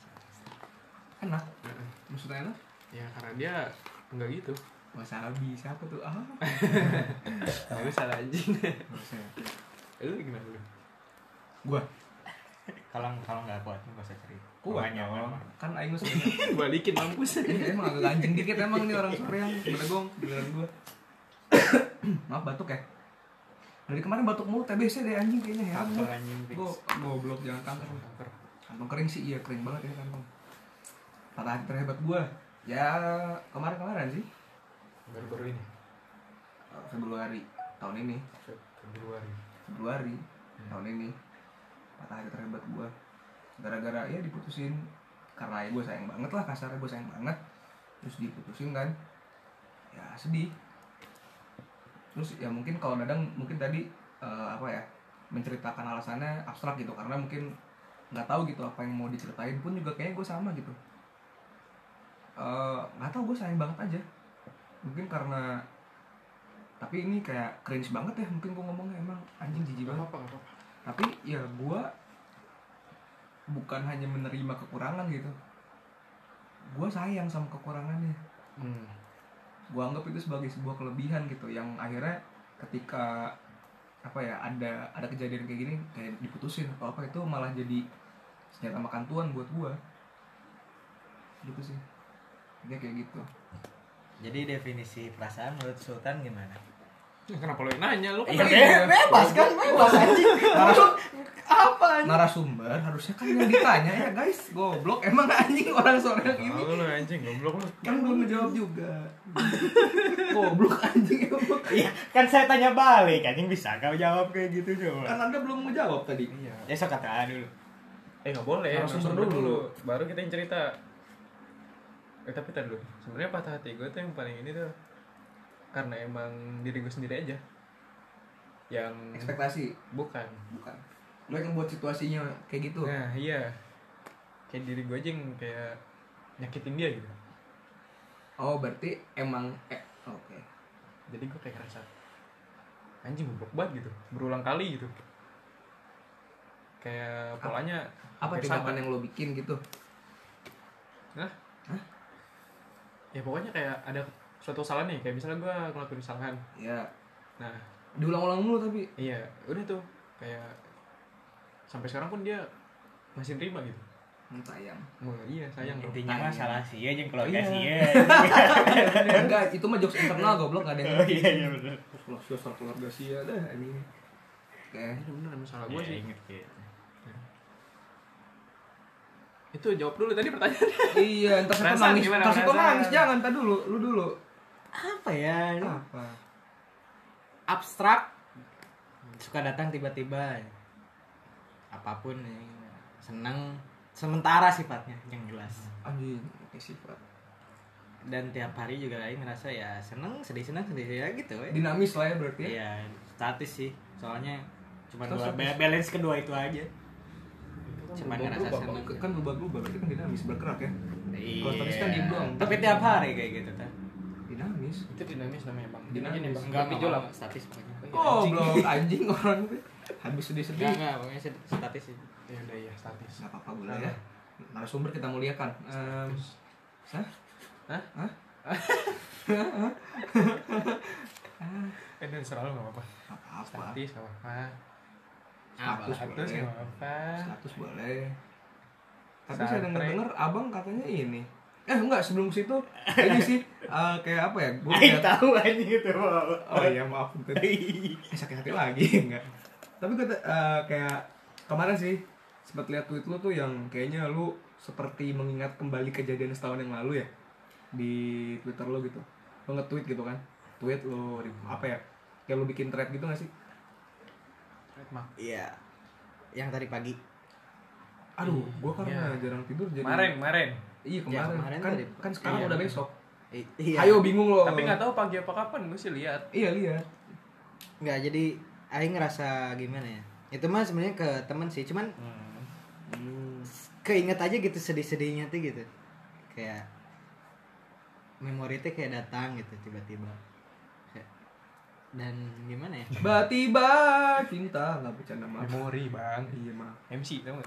Speaker 1: enak
Speaker 2: Heeh.
Speaker 1: maksudnya enak
Speaker 2: ya karena dia nggak gitu
Speaker 1: wasabi siapa tuh ah
Speaker 2: bagus salah anjing
Speaker 1: harusnya
Speaker 2: lu gimana lu
Speaker 1: gua
Speaker 3: kalau kalau nggak kuat nggak usah cerita
Speaker 1: kuat
Speaker 3: Makanya,
Speaker 1: dong.
Speaker 3: orang-
Speaker 1: kan aing mah sebenarnya
Speaker 2: balikin mampus
Speaker 1: Iya, emang agak anjing dikit emang nih orang sore yang belegong giliran gua. Maaf batuk ya. Dari kemarin batuk mulu TBC deh anjing kayaknya ya.
Speaker 3: Kanker anjing, fix.
Speaker 1: Gua goblok jangan kanker. Kantong kering sih iya kering banget ya kantong. Patah hati terhebat gua. Ya kemarin-kemarin sih
Speaker 2: baru-baru ini
Speaker 1: Eh, Februari tahun ini,
Speaker 2: Februari
Speaker 1: Februari tahun ini patah hati terhebat gua. Gara-gara ya diputusin karena ya gua sayang banget lah kasarnya gua sayang banget terus diputusin kan ya sedih terus ya mungkin kalau dadang mungkin tadi eh, apa ya menceritakan alasannya abstrak gitu karena mungkin nggak tahu gitu apa yang mau diceritain pun juga kayaknya gue sama gitu Eh, nggak tahu gue sayang banget aja mungkin karena tapi ini kayak cringe banget ya mungkin gue ngomongnya emang anjing jijik banget
Speaker 2: apa apa
Speaker 1: tapi ya gue bukan hanya menerima kekurangan gitu gue sayang sama kekurangannya
Speaker 2: hmm.
Speaker 1: gue anggap itu sebagai sebuah kelebihan gitu yang akhirnya ketika apa ya ada ada kejadian kayak gini kayak diputusin atau apa itu malah jadi senjata makan tuan buat gue gitu sih dia kayak gitu
Speaker 3: jadi definisi perasaan menurut Sultan gimana
Speaker 2: Ya, kenapa lo yang nanya lu kan
Speaker 3: Iya,
Speaker 2: nanya.
Speaker 3: bebas kan bebas anjing
Speaker 1: Naras-
Speaker 3: apa anjing
Speaker 1: narasumber harusnya kan yang ditanya ya guys goblok emang anjing orang sore ini
Speaker 2: Tahu lu anjing goblok lu.
Speaker 1: kan belum ngejawab juga goblok anjing emang
Speaker 3: iya kan saya tanya balik anjing bisa kau jawab kayak gitu
Speaker 1: kan
Speaker 3: coba
Speaker 1: anda belum ngejawab tadi
Speaker 2: Iya.
Speaker 3: ya sok kata dulu
Speaker 2: Eh nggak boleh.
Speaker 1: Harus
Speaker 2: narasumber
Speaker 1: sumber dulu.
Speaker 2: Baru kita yang cerita. Eh tapi tar dulu. Sebenarnya patah hati gue tuh yang paling ini tuh karena emang diri gue sendiri aja yang
Speaker 1: ekspektasi
Speaker 2: bukan.
Speaker 1: bukan lo yang buat situasinya kayak gitu
Speaker 2: Nah iya. Kayak diri gue aja yang kayak nyakitin dia gitu.
Speaker 1: oh berarti emang eh, oke
Speaker 2: Jadi gue kayak ngerasa anjing goblok banget gitu. Berulang kali gitu. Kayak polanya
Speaker 1: apa
Speaker 2: hampir
Speaker 1: tindakan yang lo bikin gitu
Speaker 2: Hah? Ya pokoknya kayak ada suatu kesalahan nih, kayak misalnya gue ngelakuin kesalahan.
Speaker 1: ya
Speaker 2: Nah,
Speaker 1: diulang-ulang mulu tapi
Speaker 2: iya, udah tuh kayak sampai sekarang pun dia masih terima gitu.
Speaker 1: Hmm, sayang
Speaker 2: Wah, iya sayang dong.
Speaker 3: intinya mah salah sih aja keluarga
Speaker 2: Iya.
Speaker 3: sih ya
Speaker 1: enggak itu mah jokes internal goblok gak ada yang
Speaker 3: oh iya iya benar
Speaker 1: Kalau sosial keluarga sih ya dah ini oke
Speaker 2: Ini bener emang salah gue
Speaker 3: Iya,
Speaker 2: sih.
Speaker 3: inget ya
Speaker 2: Itu jawab dulu tadi pertanyaan.
Speaker 1: iya ntar situ
Speaker 2: Perasaan
Speaker 1: nangis
Speaker 2: gimana,
Speaker 1: ntar situ
Speaker 2: perasaan?
Speaker 1: nangis jangan ntar dulu lu dulu
Speaker 3: apa ya ini
Speaker 1: apa
Speaker 3: abstrak suka datang tiba-tiba apapun ya. senang sementara sifatnya yang jelas
Speaker 1: anjing oke sifat
Speaker 3: dan tiap hari juga Aing ngerasa ya seneng sedih seneng sedih ya gitu ya
Speaker 1: dinamis lah ya berarti ya
Speaker 3: Iya, statis sih. Soalnya cuma
Speaker 1: Terus
Speaker 3: dua
Speaker 1: statis.
Speaker 3: ba- balance kedua itu aja. Cuma ngerasa
Speaker 1: Berubah-berubah,
Speaker 3: seneng.
Speaker 1: kan berubah-berubah berarti kan dinamis bergerak ya
Speaker 3: Iya.
Speaker 1: Kalau statis kan diem doang.
Speaker 3: Tapi tiap hari kayak gitu tuh.
Speaker 1: dinamis
Speaker 2: Itu dinamis namanya bang.
Speaker 1: Dinamis.
Speaker 2: Dinamis,
Speaker 3: Enggak
Speaker 2: Tapi
Speaker 3: enggak,
Speaker 2: jolak.
Speaker 3: enggak, statis pokoknya.
Speaker 1: goblok anjing orang itu habis
Speaker 3: Enggak
Speaker 1: sedih-sedih
Speaker 3: enggak, pokoknya sed- statis sih.
Speaker 2: Ya udah ya statis.
Speaker 1: nggak apa-apa gula ya narasumber kita muliakan Ehm, Hah?
Speaker 2: Hah?
Speaker 1: Hah?
Speaker 2: Eh dan selalu nggak apa-apa.
Speaker 1: apa-apa
Speaker 2: Statis nggak apa-apa.
Speaker 1: status
Speaker 3: Apalah.
Speaker 2: Status
Speaker 1: boleh
Speaker 2: nggak apa-apa.
Speaker 1: status boleh tapi saya
Speaker 2: Santai.
Speaker 1: dengar dengar abang katanya ini eh enggak sebelum ke situ ini sih eh, kayak apa ya gue
Speaker 3: Aing tahu aja gitu.
Speaker 1: oh iya maaf bentar. eh, sakit hati lagi enggak tapi kata eh, kayak kemarin sih sempat lihat tweet lu tuh yang kayaknya lu seperti mengingat kembali kejadian setahun yang lalu ya di twitter lu gitu lu nge-tweet gitu kan tweet lu di-
Speaker 2: Hmm.
Speaker 1: apa ya kayak lu bikin thread gitu gak sih
Speaker 2: Mak.
Speaker 3: Iya. Yang tadi pagi.
Speaker 1: aduh gue karena
Speaker 2: Iya.
Speaker 1: jarang tidur jadi
Speaker 2: Kemarin, kemarin.
Speaker 1: iya
Speaker 3: Ya,
Speaker 1: kemarin,
Speaker 3: kemarin
Speaker 1: kan
Speaker 3: tadi.
Speaker 1: kan sekarang
Speaker 2: Iya.
Speaker 1: udah besok
Speaker 3: I- Iya.
Speaker 1: ayo bingung lo
Speaker 2: Tapi nggak tahu pagi apa kapan gue sih lihat.
Speaker 1: iya lihat
Speaker 3: Enggak, jadi aing ngerasa gimana ya? Itu mah sebenarnya ke temen sih, cuman Hmm. keinget aja gitu sedih-sedihnya tuh gitu kayak memori tuh kayak datang gitu tiba-tiba Kayak, dan gimana ya
Speaker 1: Tiba-tiba cinta nggak bercanda maaf.
Speaker 2: Memori bang.
Speaker 1: Iya maaf.
Speaker 2: MC tau gak?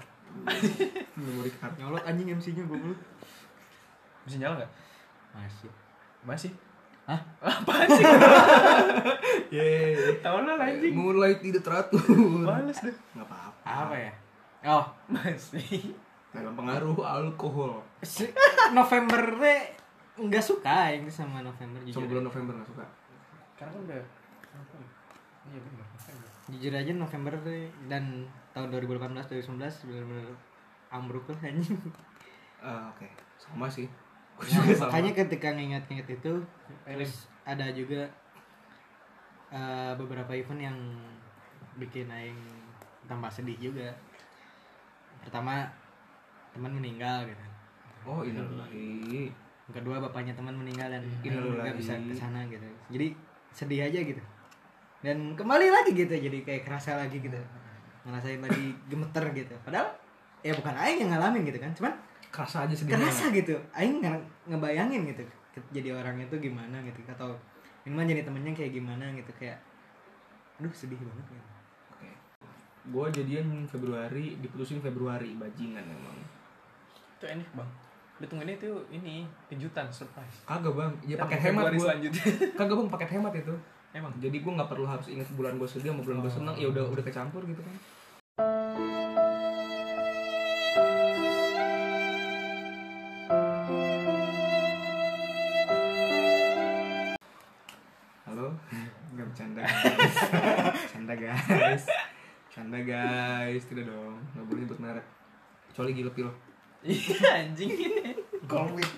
Speaker 1: Memori card.
Speaker 3: nyolot anjing MC-nya goblok
Speaker 2: Bisa nyala gak?
Speaker 3: masih
Speaker 2: Masih.
Speaker 3: Hah?
Speaker 2: Apaan sih?
Speaker 1: Yeay.
Speaker 2: Tau lah anjing.
Speaker 1: Mulai tidak teratur.
Speaker 2: Males deh.
Speaker 1: Nggak apa-apa.
Speaker 3: apa ya oh
Speaker 2: Masih.
Speaker 1: Dalam pengaruh alkohol.
Speaker 3: si- November nggak suka yang sama November
Speaker 1: Sama
Speaker 3: jujur
Speaker 1: bulan November nggak suka.
Speaker 2: Karena kan udah. apa ya? Iya bener. November.
Speaker 3: jujur aja November deh, dan tahun 2018 2019 benar-benar ambruk lah anjing
Speaker 1: Eh, Oke. Sama sih. Gue
Speaker 3: Nah,
Speaker 1: juga sama. Eh,
Speaker 3: makanya ketika nginget-nginget itu
Speaker 2: Pengen.
Speaker 3: terus ada juga eh, beberapa event yang bikin aing tambah sedih juga pertama teman meninggal gitu
Speaker 1: Oh innalillahi.
Speaker 3: yang kedua bapaknya teman meninggal dan
Speaker 1: Iya,
Speaker 3: aing nggak
Speaker 1: lagi.
Speaker 3: bisa ke sana gitu jadi sedih aja gitu dan kembali lagi gitu jadi kayak kerasa lagi gitu ngerasain lagi gemeter gitu padahal ya bukan aing yang ngalamin gitu kan cuman
Speaker 1: Kerasa aja sedihnya.
Speaker 3: kerasa gitu aing nge- ngebayangin gitu ke- jadi orangnya tuh gimana gitu atau ini mah jadi temennya kayak gimana gitu kayak aduh sedih banget gitu.
Speaker 1: Oke. Gue jadian Februari, diputusin Februari, bajingan emang.
Speaker 2: Itu enak bang. Lu tungguinnya itu ini kejutan surprise.
Speaker 1: Kagak bang, ya
Speaker 2: Ntar
Speaker 1: paket hemat
Speaker 2: Februari
Speaker 1: gue.
Speaker 2: selanjutnya.
Speaker 1: Kagak bang, paket hemat itu.
Speaker 2: Emang.
Speaker 1: Jadi gue nggak perlu harus ingat bulan gue sedih sama bulan gue seneng, ya udah udah kecampur gitu kan. Halo, nggak bercanda guys. Bercanda guys. Bercanda guys, tidak dong, nggak boleh nyebut merek. Kecuali gilep lo.
Speaker 2: Iya anjing ini.
Speaker 1: Golwit.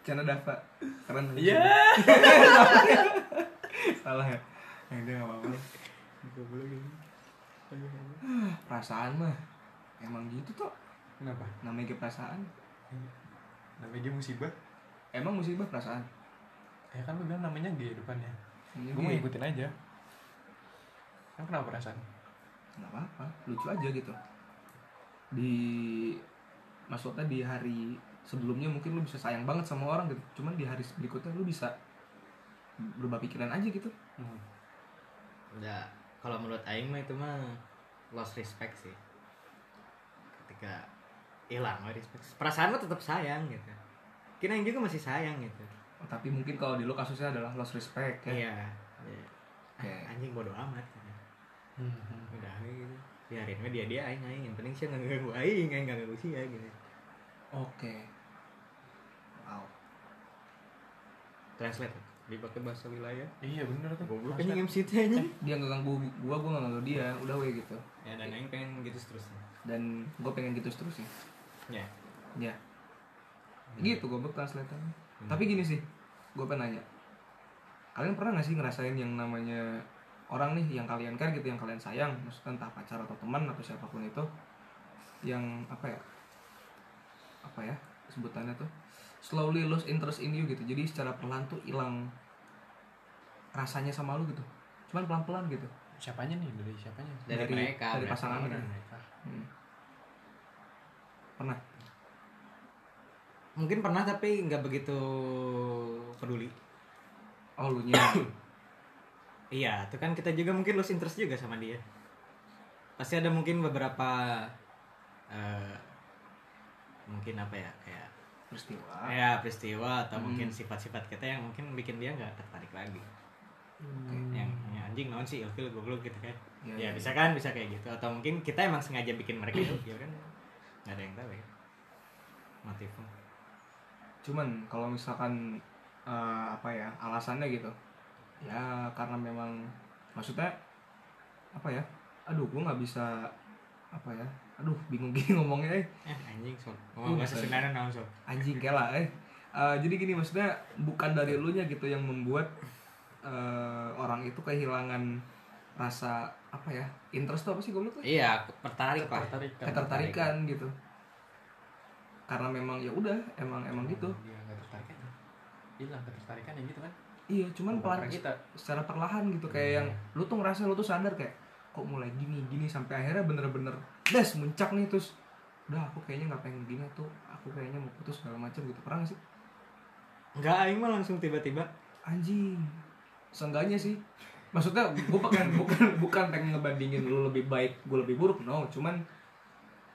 Speaker 1: Bercanda Dava, keren.
Speaker 2: Iya.
Speaker 1: Salah ya? Ya udah gak apa-apa Perasaan mah Emang gitu toh
Speaker 2: Kenapa?
Speaker 1: Namanya juga perasaan
Speaker 2: Namanya dia musibah.
Speaker 1: Emang musibah perasaan
Speaker 2: Ya kan lu bilang namanya G depannya.
Speaker 1: Namanya
Speaker 2: Gue
Speaker 1: G.
Speaker 2: mau ngikutin aja. Emang kenapa perasaan?
Speaker 1: Gak apa-apa Lucu aja gitu Di Maksudnya di hari Sebelumnya mungkin lu bisa sayang banget sama orang gitu Cuman di hari berikutnya lu bisa Berubah pikiran aja gitu
Speaker 2: Hmm.
Speaker 3: Udah, kalau menurut Aing mah itu mah lost respect sih. Ketika hilang lah respect. Perasaan mah tetap sayang gitu. Kira Aing juga masih sayang gitu.
Speaker 1: Oh, Tapi mungkin kalau di lu kasusnya adalah lost respect ya
Speaker 3: Iya. Iya.
Speaker 1: Oke.
Speaker 3: Ah, Anjing bodo amat. gitu. Udah aja gitu. Biarin mah dia dia aing aing yang penting sih nggak ganggu aing, aing nggak ganggu sih ya gitu.
Speaker 1: Oke Wow
Speaker 3: Translate dipakai bahasa wilayah.
Speaker 2: Iya bener tuh.
Speaker 3: Goblok
Speaker 2: Maksudnya-
Speaker 3: anjing MC teh anjing.
Speaker 1: Dia gak ganggu gua, gua gak ganggu dia Udah weh gitu
Speaker 3: Ya dan aing pengen gitu seterusnya.
Speaker 1: Dan gua pengen gitu seterusnya
Speaker 3: Ya.
Speaker 1: Ya.
Speaker 3: Iya.
Speaker 1: Gitu goblok translate-nya.
Speaker 3: Hmm.
Speaker 1: Tapi gini sih, gue pengen nanya. Kalian pernah gak sih ngerasain yang namanya orang nih yang kalian care gitu, yang kalian sayang, maksudnya entah pacar atau teman atau siapapun itu yang apa ya? Apa ya sebutannya tuh? Slowly lose interest in you gitu. Jadi secara perlahan tuh hilang rasanya sama lu gitu. Cuman pelan-pelan gitu.
Speaker 2: Siapanya nih dari siapanya?
Speaker 3: Dari,
Speaker 1: Dari-
Speaker 3: mereka,
Speaker 1: dari
Speaker 3: mereka
Speaker 1: pasangannya.
Speaker 3: orang.
Speaker 1: Hmm. Pernah?
Speaker 3: Mungkin pernah tapi nggak begitu peduli.
Speaker 1: Oh, lu nya.
Speaker 3: Iya, itu kan kita juga mungkin lose interest juga sama dia. Pasti ada mungkin beberapa eh, mungkin apa ya kayak
Speaker 1: peristiwa.
Speaker 3: ya peristiwa atau
Speaker 1: Hmm.
Speaker 3: mungkin sifat-sifat kita yang mungkin bikin dia nggak tertarik lagi. Yang yang anjing naon sih ilfil goblok gitu kan.
Speaker 1: Iya,
Speaker 3: Hmm. ya
Speaker 1: iya.
Speaker 3: bisa kan bisa kayak gitu atau mungkin kita emang sengaja bikin mereka ilfil kan. Nggak ada yang tahu ya. Motifnya.
Speaker 1: cuman kalau misalkan eh, apa ya alasannya gitu ya karena memang maksudnya apa ya aduh gue nggak bisa apa ya aduh bingung gini ngomongnya eh
Speaker 3: Eh anjing sok. Ngomong bahasa
Speaker 1: Bukan.
Speaker 3: Sunda naon sok.
Speaker 1: anjing kela eh Eh, jadi gini maksudnya bukan dari elunya gitu yang membuat eh, orang itu kehilangan rasa apa ya interest tuh apa sih goblok tuh
Speaker 3: Iya, tertarik lah.
Speaker 2: Ketertarikan.
Speaker 1: ketertarikan gitu karena memang ya udah emang emang gitu
Speaker 2: Dia Iya, nggak tertarik aja. Hilang ketertarikan ya gitu kan?
Speaker 1: iya cuman
Speaker 2: Bukan
Speaker 1: pelan
Speaker 2: karena kita.
Speaker 1: secara perlahan gitu
Speaker 3: Hmm.
Speaker 1: kayak yang lu tuh ngerasa lu tuh sadar kayak kok mulai gini gini sampai akhirnya bener-bener des muncak nih terus udah aku kayaknya nggak pengen gini tuh aku kayaknya mau putus segala macam gitu pernah gak sih
Speaker 3: Enggak, aing mah langsung tiba-tiba
Speaker 1: anjing seenggaknya sih maksudnya gue bukan bukan bukan pengen ngebandingin lu lebih baik gue lebih buruk no cuman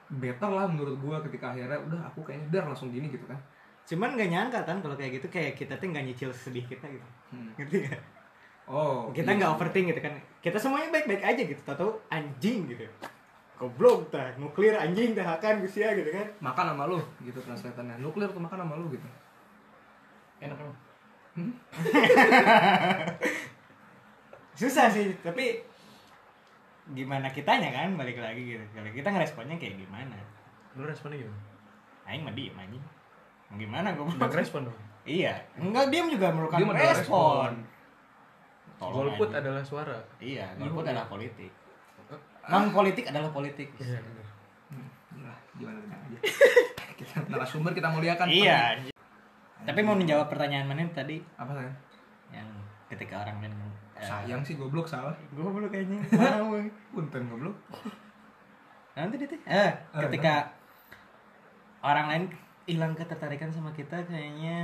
Speaker 1: better lah menurut gue ketika akhirnya udah aku kayaknya dar langsung gini gitu kan
Speaker 3: Cuman gak nyangka kan kalau kayak gitu kayak kita tuh gak nyicil sedikit aja gitu.
Speaker 1: Hmm.
Speaker 3: Ngerti gak?
Speaker 1: oh
Speaker 3: Kita
Speaker 1: iya
Speaker 3: nggak
Speaker 1: sih.
Speaker 3: overthink gitu kan. Kita semuanya baik-baik aja gitu. Tahu anjing gitu. Goblok tah, nuklir anjing tah akan gusia gitu kan.
Speaker 1: makan sama lu gitu translatannya nuklir tuh makan sama lu gitu
Speaker 4: Enak emang.
Speaker 3: Susah sih, tapi gimana kitanya kan balik lagi gitu. Kalau kita ngeresponnya kayak gimana?
Speaker 2: Lu responnya gimana?
Speaker 3: Aing mah diem anjing. Mau Gimana gue
Speaker 2: Udah ngerespon dong.
Speaker 3: Iya, enggak diem juga merupakan
Speaker 1: Diem adalah respon.
Speaker 3: respon. Tolong
Speaker 2: Golput
Speaker 3: Oh, anjing.
Speaker 2: adalah suara.
Speaker 3: Iya, golput adalah politik.
Speaker 1: Eh, ah.
Speaker 3: Non politik adalah politik.
Speaker 2: Iya, bener.
Speaker 1: Yalah, Hmm, iya, gimana benar aja kita narasumber kita kan, muliakan
Speaker 3: Iya. anjing. Tapi mau menjawab pertanyaan mana tadi
Speaker 1: apa sayang
Speaker 3: yang ketika orang main eh,
Speaker 1: sayang sih goblok salah
Speaker 3: Gue belum kayaknya. Mau.
Speaker 1: punten goblok
Speaker 3: Nanti deh. Eh, ketika orang lain hilang ketertarikan sama kita kayaknya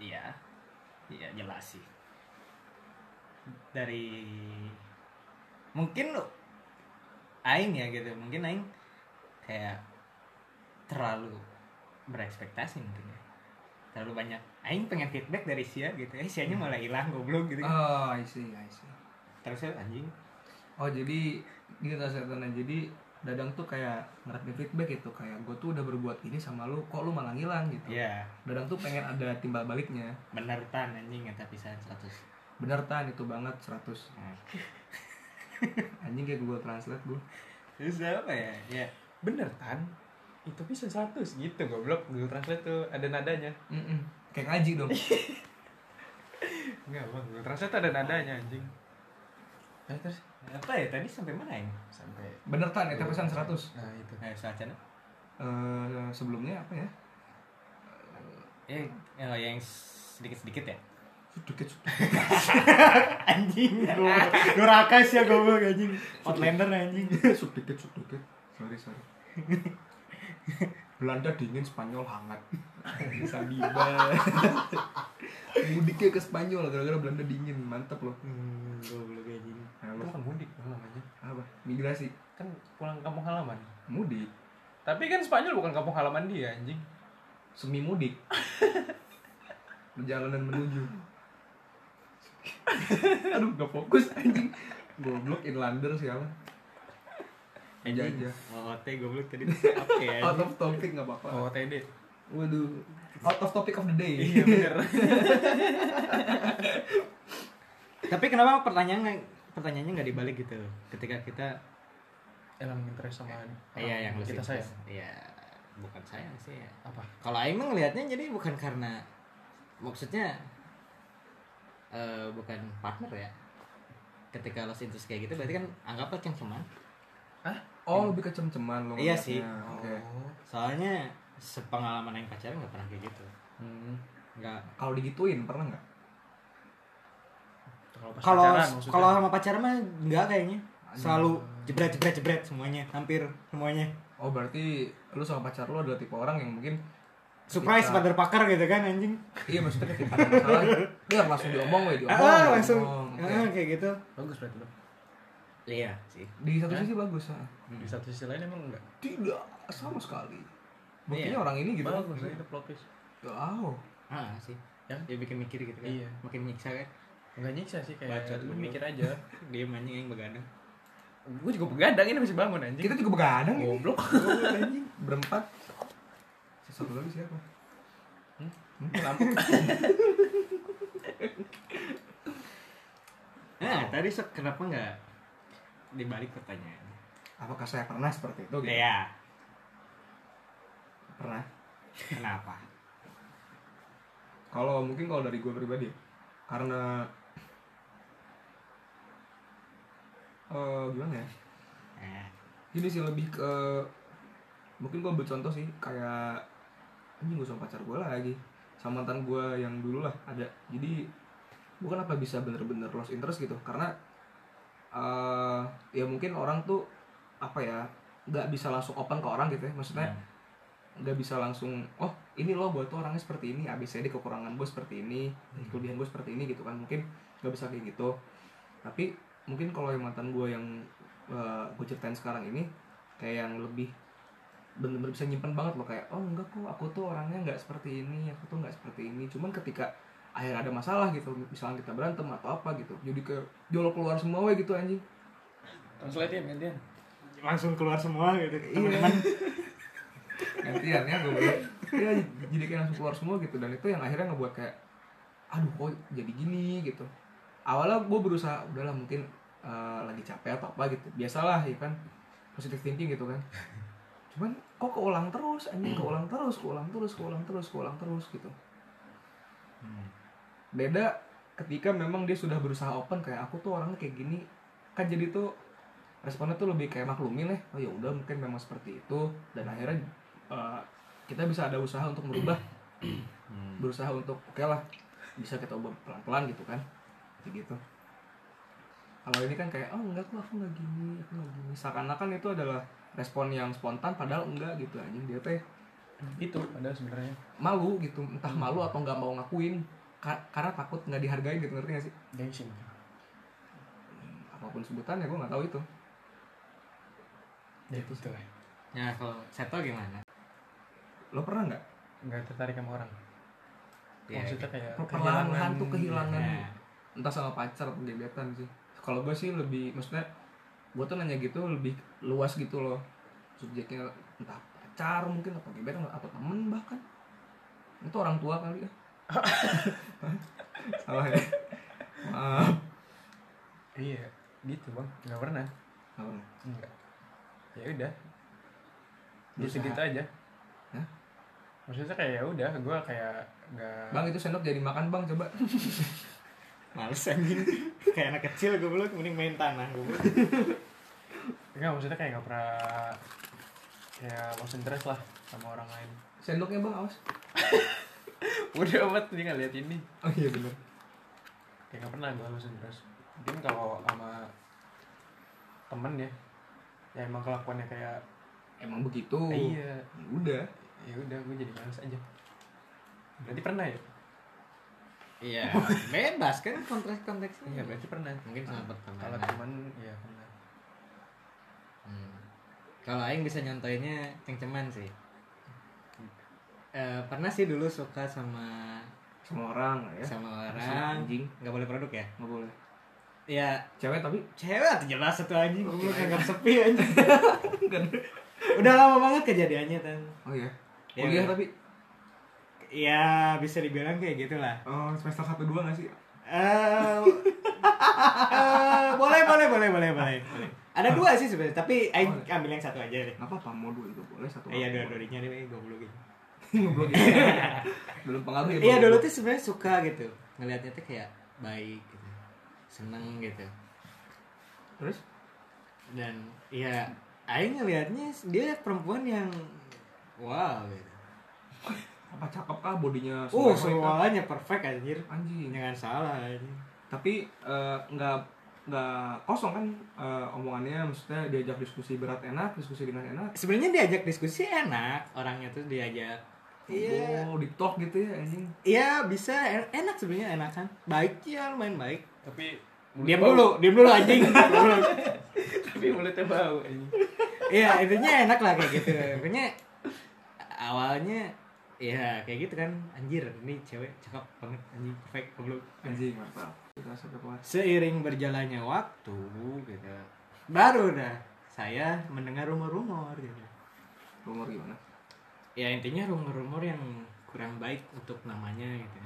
Speaker 3: iya. Iya, jelas sih. Dari mungkin lo- aing ya gitu. Mungkin aing kayak terlalu berekspektasi mungkin ya. Terlalu banyak. Aing pengen feedback dari Sia gitu. Eh, Sianya malah hilang goblok gitu.
Speaker 1: oh I see I see
Speaker 3: Terusnya anjing.
Speaker 1: Oh jadi gitu setannya jadi Dadang tuh kayak ngerapin feedback gitu kayak gue tuh udah berbuat ini sama lu kok lu malah ngilang gitu.
Speaker 3: Iya.
Speaker 1: Dadang tuh pengen ada timbal baliknya.
Speaker 3: bener tan anjing ya, eta pisan 100
Speaker 1: Bener tan itu banget 100
Speaker 3: Nah,
Speaker 1: anjing kayak Google Translate gue.
Speaker 3: terus apa ya ya
Speaker 2: Bener kan? Itu bisa satu gitu goblok. Google Translate tuh ada nadanya.
Speaker 1: Mm-mm. Kayak ngaji dong.
Speaker 2: Enggak, Bang. Google Translate tuh ada nadanya anjing. Eh, terus
Speaker 3: apa ya tadi sampai mana ya
Speaker 2: sampai
Speaker 1: Bener tan itu pesan 100. Eh
Speaker 2: Nah, itu.
Speaker 3: nah, Salcana
Speaker 1: sebelumnya apa ya?
Speaker 3: eh ya, yang sedikit sedikit ya
Speaker 1: Sedikit
Speaker 3: anjing goblok duraka sih ya goblok anjing outlander anjing
Speaker 1: sedikit sedikit. Sorry sorry. Belanda dingin, Spanyol hangat. Bisa diba. Mudiknya ke Spanyol gara-gara Belanda dingin, mantep loh.
Speaker 3: hmm, goblok anjing
Speaker 1: Halo.
Speaker 2: Lu kan mudik ngomong aja.
Speaker 1: apa migrasi
Speaker 2: Kan pulang kampung halaman.
Speaker 1: mudik
Speaker 2: Tapi kan Spanyol bukan kampung halaman dia anjing.
Speaker 1: semi mudik perjalanan menuju aduh gak fokus anjing goblok inlander siapa aja aja
Speaker 3: oh teh goblok tadi apa ya
Speaker 1: out of topic nggak apa-apa
Speaker 2: Oh, TD.
Speaker 1: waduh out of topic of the day
Speaker 2: Iya, bener.
Speaker 3: tapi kenapa pertanyaannya pertanyaannya nggak dibalik gitu ketika kita
Speaker 2: Emang interest sama
Speaker 3: iya yang lu
Speaker 2: kita
Speaker 3: sih.
Speaker 2: sayang.
Speaker 3: iya bukan sayang sih ya
Speaker 2: Apa?
Speaker 3: kalau Aing mah ngelihatnya jadi bukan karena maksudnya eh bukan partner ya ketika lost interest kayak gitu berarti kan anggaplah cengkeman
Speaker 1: oh lebih kecem-ceman lo
Speaker 3: Iya
Speaker 1: ngeliatnya.
Speaker 3: sih.
Speaker 1: oke
Speaker 2: Oh.
Speaker 3: soalnya sepengalaman yang pacaran nggak pernah kayak gitu
Speaker 1: Hmm.
Speaker 3: nggak
Speaker 1: kalau digituin pernah nggak
Speaker 2: Kalau pas
Speaker 3: kalau
Speaker 2: pacaran maksudnya.
Speaker 3: kalau sama pacaran mah nggak kayaknya selalu jebret jebret jebret semuanya hampir semuanya
Speaker 1: oh berarti lu sama pacar lu adalah tipe orang yang mungkin
Speaker 3: surprise
Speaker 1: ketika-
Speaker 3: pada pakar gitu kan anjing
Speaker 1: iya maksudnya ketika ada masalah dia langsung diomong weh diomong
Speaker 3: ah langsung
Speaker 1: diomong. Oke.
Speaker 3: ah, kayak gitu
Speaker 2: bagus berarti lo.
Speaker 3: iya sih
Speaker 1: di satu sisi bagus ah.
Speaker 2: Di satu sisi lain emang enggak.
Speaker 1: tidak sama sekali buktinya
Speaker 3: Iya.
Speaker 1: orang ini gitu
Speaker 2: Bagus eh. itu plot twist.
Speaker 1: wow
Speaker 3: ah sih
Speaker 2: Ya.
Speaker 3: dia bikin mikir gitu kan
Speaker 2: Iya.
Speaker 3: makin nyiksa kan
Speaker 2: Enggak nyiksa sih kayak
Speaker 3: Bacot
Speaker 2: lu
Speaker 3: bener.
Speaker 2: mikir aja.
Speaker 3: dia anjing yang begadang
Speaker 2: gue juga begadang ini masih bangun anjing.
Speaker 1: kita kan juga begadang ini
Speaker 2: goblok.
Speaker 1: berempat satu lagi siapa Hmm?
Speaker 2: Lampu.
Speaker 3: Nah, tadi Sok, kenapa nggak dibalik pertanyaan?
Speaker 1: apakah saya pernah seperti itu gitu?
Speaker 3: Iya,
Speaker 1: pernah
Speaker 3: kenapa?
Speaker 1: kalau mungkin kalau dari gue pribadi ya, karena eh gimana ya
Speaker 3: Eh,
Speaker 1: ini sih lebih ke mungkin gue ambil contoh sih kayak ini gue sama pacar gue lagi sama mantan gue yang dulu lah ada jadi gue kenapa bisa bener-bener lost interest gitu karena eh ya mungkin orang tuh
Speaker 3: Nah,
Speaker 1: apa ya nggak bisa langsung open ke orang gitu ya maksudnya nggak bisa langsung oh ini loh gue tuh orangnya seperti ini ABCD kekurangan gue seperti ini kelebihan gue seperti ini gitu kan mungkin nggak bisa kayak gitu tapi mungkin kalau yang mantan gue yang gue ceritain sekarang ini kayak yang lebih bener-bener bisa nyimpen banget loh kayak oh enggak kok aku tuh orangnya nggak seperti ini aku tuh nggak seperti ini cuman ketika akhirnya ada masalah gitu misalnya kita berantem atau apa gitu jadi ke jolok keluar semua we gitu anjing
Speaker 4: Translate ya gantian.
Speaker 3: langsung keluar semua gitu
Speaker 1: teman-teman gantian ya gue ya jadi kayak langsung keluar semua gitu dan itu yang akhirnya ngebuat kayak aduh kok jadi gini gitu awalnya gue berusaha udahlah mungkin eh, lagi capek atau apa gitu biasalah ya kan positive thinking gitu kan cuman kok keulang terus anjing keulang terus keulang terus keulang terus keulang terus gitu
Speaker 3: Hmm,
Speaker 1: beda ketika memang dia sudah berusaha open kayak aku tuh orangnya kayak gini kan jadi tuh responnya tuh lebih kayak maklumin ya oh ya udah mungkin memang seperti itu dan akhirnya eh, kita bisa ada usaha untuk merubah
Speaker 3: hmm.
Speaker 1: berusaha untuk oke lah bisa kita ubah pelan pelan gitu kan kayak gitu kalau ini kan kayak oh enggak kok aku nggak gini aku nggak gini seakan-akan itu adalah respon yang spontan padahal enggak gitu anjing dia teh
Speaker 4: Itu padahal sebenarnya.
Speaker 1: malu gitu entah malu atau nggak mau ngakuin Ka- karena takut nggak dihargai gitu ngerti gak sih
Speaker 4: Gengsi.
Speaker 1: apapun sebutannya gue nggak tahu itu
Speaker 4: Ya itu lah.
Speaker 3: ya kalau Seto gimana
Speaker 1: lo pernah nggak
Speaker 2: nggak tertarik sama orang
Speaker 3: Ya,
Speaker 2: maksudnya kayak
Speaker 1: Per- perlahan-lahan tuh kehilangan
Speaker 3: ya.
Speaker 1: entah sama pacar atau gebetan sih kalau gue sih lebih maksudnya gue tuh nanya gitu lebih luas gitu loh subjeknya entah pacar mungkin atau gebetan atau temen bahkan itu orang tua kali ya salah ya maaf
Speaker 2: iya gitu bang nggak pernah
Speaker 1: Apa?
Speaker 2: enggak ya udah gitu
Speaker 1: Berusaha.
Speaker 2: gitu aja
Speaker 1: Hah?
Speaker 2: maksudnya kayak ya udah gue kayak nggak
Speaker 1: bang itu sendok jadi makan bang coba
Speaker 3: males anjing kayak anak kecil gue belum mending main tanah gue
Speaker 2: Enggak, maksudnya kayak nggak pernah kayak lost interest lah sama orang lain.
Speaker 1: sendoknya bang awas
Speaker 2: Udah amat nih nggak lihat ini.
Speaker 1: oh iya bener
Speaker 2: Kayak nggak pernah gue lost interest. Mungkin kalau sama temen ya, ya emang kelakuannya kayak
Speaker 1: emang begitu
Speaker 3: Oh.
Speaker 2: "Eh, iya,
Speaker 1: Ya udah
Speaker 2: ya udah gue jadi males aja. Berarti pernah ya?
Speaker 3: iya bebas kan konteks konteksnya
Speaker 2: Iya, berarti pernah.
Speaker 3: mungkin sempat
Speaker 2: Kalau
Speaker 3: pernah
Speaker 2: temen, ya pernah.
Speaker 3: Hmm. Kalau Aing bisa nyontoinnya cengceman sih. Eh, pernah sih dulu suka sama
Speaker 1: sama orang lah ya
Speaker 3: sama
Speaker 1: Sama
Speaker 3: orang
Speaker 1: anjing.
Speaker 3: nggak boleh produk ya
Speaker 1: nggak boleh
Speaker 3: ya
Speaker 1: cewek tapi
Speaker 3: cewek tuh jelas satu anjing gue Oh, kagak sepi anjing udah lama banget kejadiannya kan
Speaker 1: oh iya
Speaker 3: Iya,
Speaker 1: kuliah
Speaker 3: iya.
Speaker 1: tapi
Speaker 3: ya bisa dibilang kayak gitulah
Speaker 1: oh, semester satu dua nggak sih
Speaker 3: Eh, eh, boleh boleh boleh boleh boleh boleh. ada dua sih sebenarnya tapi Aing ambil yang satu aja deh
Speaker 1: Nggak apa-apa mau dua juga boleh satu.
Speaker 3: iya
Speaker 1: orang
Speaker 3: dua
Speaker 1: boleh.
Speaker 3: duanya deh goblok gitu
Speaker 1: Ngeblok gitu. Belum pengaruh ya.
Speaker 3: Iya
Speaker 1: Bang?
Speaker 3: dulu tuh sebenarnya suka gitu ngelihatnya tuh kayak baik gitu seneng gitu
Speaker 1: Terus
Speaker 3: dan ya Aing ngelihatnya dia perempuan yang wow gitu
Speaker 1: apa cakep kah bodinya?
Speaker 3: oh
Speaker 1: sesuai kah?
Speaker 3: semuanya perfect anjir
Speaker 1: Anjing.
Speaker 3: jangan salah anjir.
Speaker 1: Tapi eh, nggak nggak kosong kan eh, omongannya maksudnya diajak diskusi berat enak diskusi ringan enak
Speaker 3: sebenarnya diajak diskusi enak orangnya tuh diajak iya
Speaker 1: oh di talk gitu ya anjing
Speaker 3: iya bisa en- enak sebenarnya enakan baik ya lumayan baik
Speaker 2: Tapi
Speaker 3: diam dulu diam dulu anjing
Speaker 2: tapi mulutnya bau ini.
Speaker 3: Iya, intinya enak lah kayak gitu. Intinya awalnya ya kayak gitu kan anjir ini cewek cakep banget anjing perfect goblok
Speaker 1: anjing mantap kita sampai keluar
Speaker 3: seiring berjalannya waktu gitu baru dah saya mendengar rumor-rumor gitu
Speaker 1: rumor gimana
Speaker 3: ya intinya rumor-rumor yang kurang baik untuk namanya gitu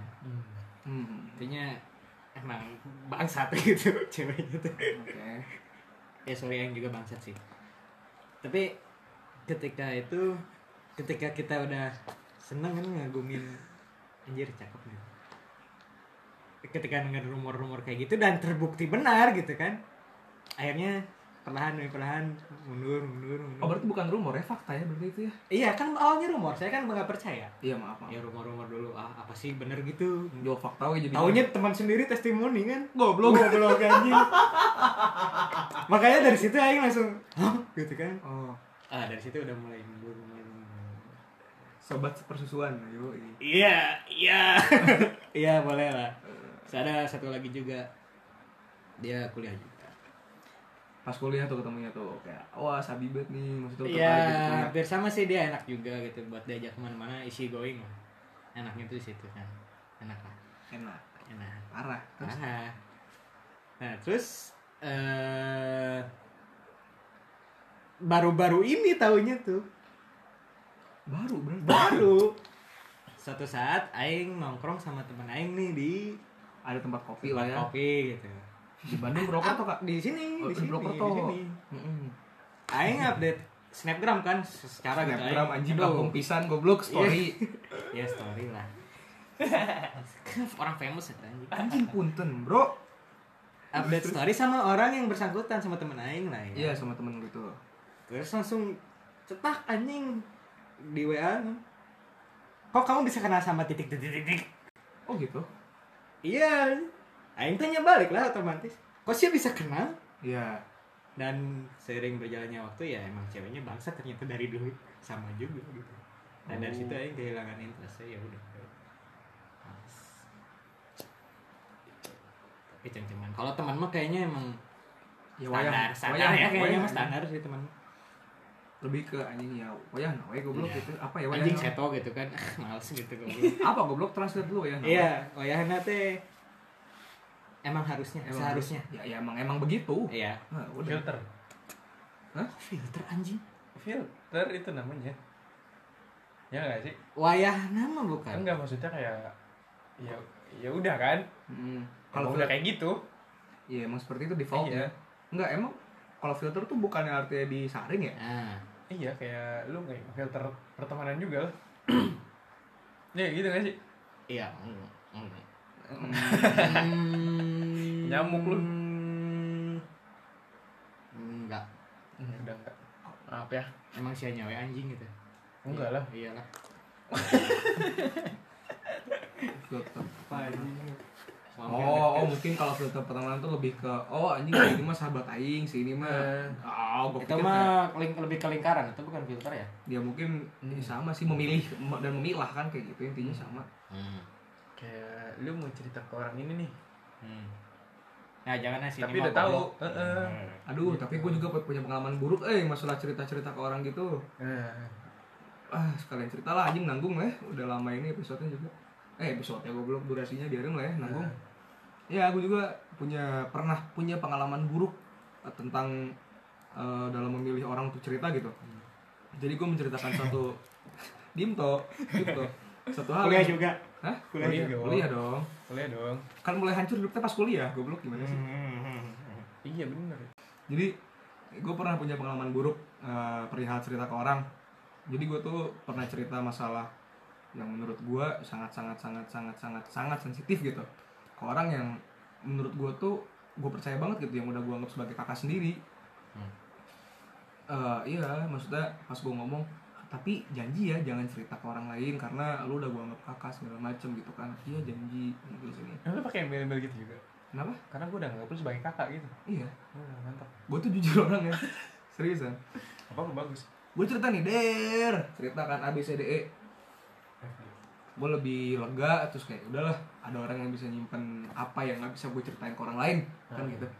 Speaker 1: hmm
Speaker 3: intinya emang bangsat gitu ceweknya tuh
Speaker 1: oke
Speaker 3: ya sorry yang juga bangsat sih tapi ketika itu ketika kita udah seneng kan ngagumin anjir cakep nih ketika dengar rumor-rumor kayak gitu dan terbukti benar gitu kan akhirnya perlahan demi perlahan mundur mundur mundur
Speaker 1: oh berarti bukan rumor ya fakta ya berarti itu ya
Speaker 3: iya kan awalnya rumor saya kan nggak percaya
Speaker 1: iya maaf maaf
Speaker 3: ya rumor-rumor dulu ah apa sih bener gitu
Speaker 1: jual fakta we jadi
Speaker 3: taunya teman sendiri testimoni kan
Speaker 1: goblok
Speaker 3: goblok anjing makanya dari situ aing langsung hah gitu kan
Speaker 1: oh
Speaker 3: ah dari situ udah mulai mundur mulai mundur.
Speaker 1: sobat persusuan yo
Speaker 3: Iya, iya. Iya, boleh lah. Terus ada satu lagi juga. Dia kuliah juga.
Speaker 1: pas kuliah tuh ketemunya tuh kayak wah sabi banget nih maksudnya tuh
Speaker 3: Iya,
Speaker 1: tertarik gitu kuliah.
Speaker 3: hampir sama sih dia enak juga gitu buat diajak kemana-mana isi going lah. Enaknya tuh di situ kan. Enak lah.
Speaker 1: enak
Speaker 3: Enak.
Speaker 1: parah terus
Speaker 3: Nah, nah terus eh baru-baru ini tahunya tuh
Speaker 1: baru bener
Speaker 3: baru suatu saat Aing nongkrong sama temen Aing nih di
Speaker 1: ada tempat kopi lah ya
Speaker 3: kopi gitu
Speaker 1: di Bandung Brokerto kak
Speaker 3: di sini
Speaker 1: Oh,
Speaker 3: di
Speaker 1: di
Speaker 3: sini
Speaker 1: Brokerto.
Speaker 3: di sini
Speaker 1: Mm-mm.
Speaker 3: Aing update snapgram kan secara gitu
Speaker 1: Snapgram
Speaker 3: Aing.
Speaker 1: anjing
Speaker 3: Aduh.
Speaker 1: kampung pisan goblok story
Speaker 3: ya story lah orang famous ya anjing
Speaker 1: anjing punten bro
Speaker 3: update story sama orang yang bersangkutan sama temen Aing lah
Speaker 1: iya
Speaker 3: ya
Speaker 1: sama temen gitu
Speaker 3: terus langsung cetak anjing di WA kok kamu bisa kenal sama titik titik titik
Speaker 1: oh gitu
Speaker 3: iya Aing tanya balik lah otomatis kok sih bisa kenal
Speaker 1: iya
Speaker 3: dan seiring berjalannya waktu ya emang ceweknya bangsa ternyata dari dulu sama juga gitu dan dari
Speaker 1: Oh.
Speaker 3: situ aing kehilangan interestnya ya udah Males. tapi cuman kalau teman mah kayaknya emang
Speaker 1: ya
Speaker 3: standar
Speaker 1: wayang
Speaker 3: standar ya kayaknya
Speaker 1: wayang,
Speaker 3: mah standar sih teman
Speaker 1: lebih ke anjing ya wayang wayang goblok
Speaker 3: Iya.
Speaker 1: gitu apa ya wayang
Speaker 3: anjing seto gitu kan Ah, males gitu goblok
Speaker 1: apa goblok translate dulu ya
Speaker 3: iya oh ya teh emang harusnya
Speaker 1: Emang-
Speaker 3: seharusnya
Speaker 1: ya, ya emang emang begitu
Speaker 3: iya
Speaker 1: Nah, udah
Speaker 2: Filter.
Speaker 3: filter anjing
Speaker 2: Filter itu namanya. Ya nggak sih?
Speaker 3: wayahna mah bukan
Speaker 2: Kan nggak maksudnya kayak ya ya udah kan.
Speaker 1: Mm. kalau
Speaker 2: Kalau udah
Speaker 1: filter
Speaker 2: kayak gitu,
Speaker 1: ya emang seperti itu defaultnya
Speaker 2: Iya.
Speaker 1: enggak emang kalau filter tuh bukannya artinya disaring ya
Speaker 3: nah
Speaker 2: iya kayak lu kayak filter pertemanan juga lah. ya gitu nggak sih?
Speaker 3: iya mm, mm.
Speaker 1: Mm.
Speaker 3: Hmm.
Speaker 2: Nyamuk lu.
Speaker 3: Enggak.
Speaker 2: Udah enggak. Maaf ya.
Speaker 3: Emang si nyawa anjing gitu.
Speaker 2: Enggak lah.
Speaker 3: Iyalah.
Speaker 1: filter
Speaker 3: Oh,
Speaker 1: Oh, oh mungkin kalau filter pertemanan tuh lebih ke oh anjing si ini mah sahabat aing, si ini mah oh gue
Speaker 3: Iya.
Speaker 1: pikir
Speaker 3: itu
Speaker 1: kayak-
Speaker 3: mah ling- lebih ke lingkaran, itu bukan filter ya?
Speaker 1: ya mungkin ini sama sih memilih me- dan memilah kan kayak gitu intinya sama.
Speaker 3: Hmm.
Speaker 2: Kayak lu mau cerita ke orang ini nih,
Speaker 3: Nah, Hmm. jangan sih.
Speaker 2: tapi udah tahu. Heeh.
Speaker 1: Aduh,
Speaker 3: Iya.
Speaker 1: tapi gue juga pu- punya pengalaman buruk eh masalah cerita-cerita ke orang gitu.
Speaker 2: Nah,
Speaker 1: Ah, sekalian cerita lah anjing nanggung lah ya. Udah lama ini episodenya juga. Eh, episodenya gue belum durasinya biarin lah ya nanggung. Ya, gue juga punya pernah punya pengalaman buruk eh, tentang eh, dalam memilih orang untuk cerita gitu. Jadi gue menceritakan satu dimto, dimto. Satu hal.
Speaker 3: Kuliah juga.
Speaker 1: Hah?
Speaker 2: Kuliah
Speaker 1: Kuliah,
Speaker 2: juga.
Speaker 1: kuliah dong.
Speaker 2: boleh dong.
Speaker 1: Kan mulai hancur hidupnya pas kuliah, goblok
Speaker 3: Hmm,
Speaker 1: gimana sih?
Speaker 2: Iya bener.
Speaker 1: jadi gue pernah punya pengalaman buruk eh, perihal cerita ke orang jadi gue tuh pernah cerita masalah yang menurut gue sangat sangat sangat sangat sangat sangat sensitif gitu ke orang yang menurut gue tuh gue percaya banget gitu yang udah gue anggap sebagai kakak sendiri
Speaker 3: Hmm.
Speaker 1: Eh, iya maksudnya pas gue ngomong tapi janji ya jangan cerita ke orang lain karena lu udah gue anggap kakak segala macem gitu kan iya janji gitu sini
Speaker 2: Emang lu pakai email-email gitu juga?
Speaker 1: kenapa
Speaker 2: Karena gue udah nggak perlu sebagai kakak gitu.
Speaker 1: iya
Speaker 2: Udah mantap.
Speaker 1: gue tuh jujur orangnya seriusan
Speaker 2: Apa lu bagus?
Speaker 1: gue cerita nih der cerita kan ABCDE gue lebih lega terus kayak udahlah ada orang yang bisa nyimpen apa yang nggak bisa gue ceritain ke orang lain kan
Speaker 2: Hmm.
Speaker 1: gitu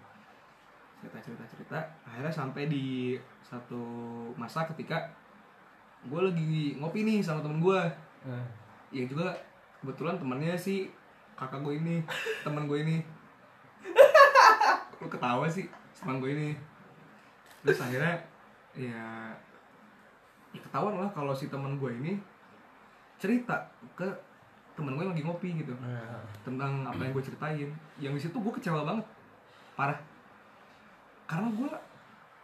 Speaker 1: cerita cerita cerita akhirnya sampai di satu masa ketika gue lagi ngopi nih sama temen gue
Speaker 2: Nah,
Speaker 1: ya juga kebetulan temennya si kakak gue ini temen gue ini lu ketawa sih teman gue ini terus akhirnya ya, ya ketahuan lah kalau si teman gue ini cerita ke temen gue yang lagi ngopi gitu
Speaker 2: nah.
Speaker 1: tentang apa yang gue ceritain yang di situ gue kecewa banget parah karena gue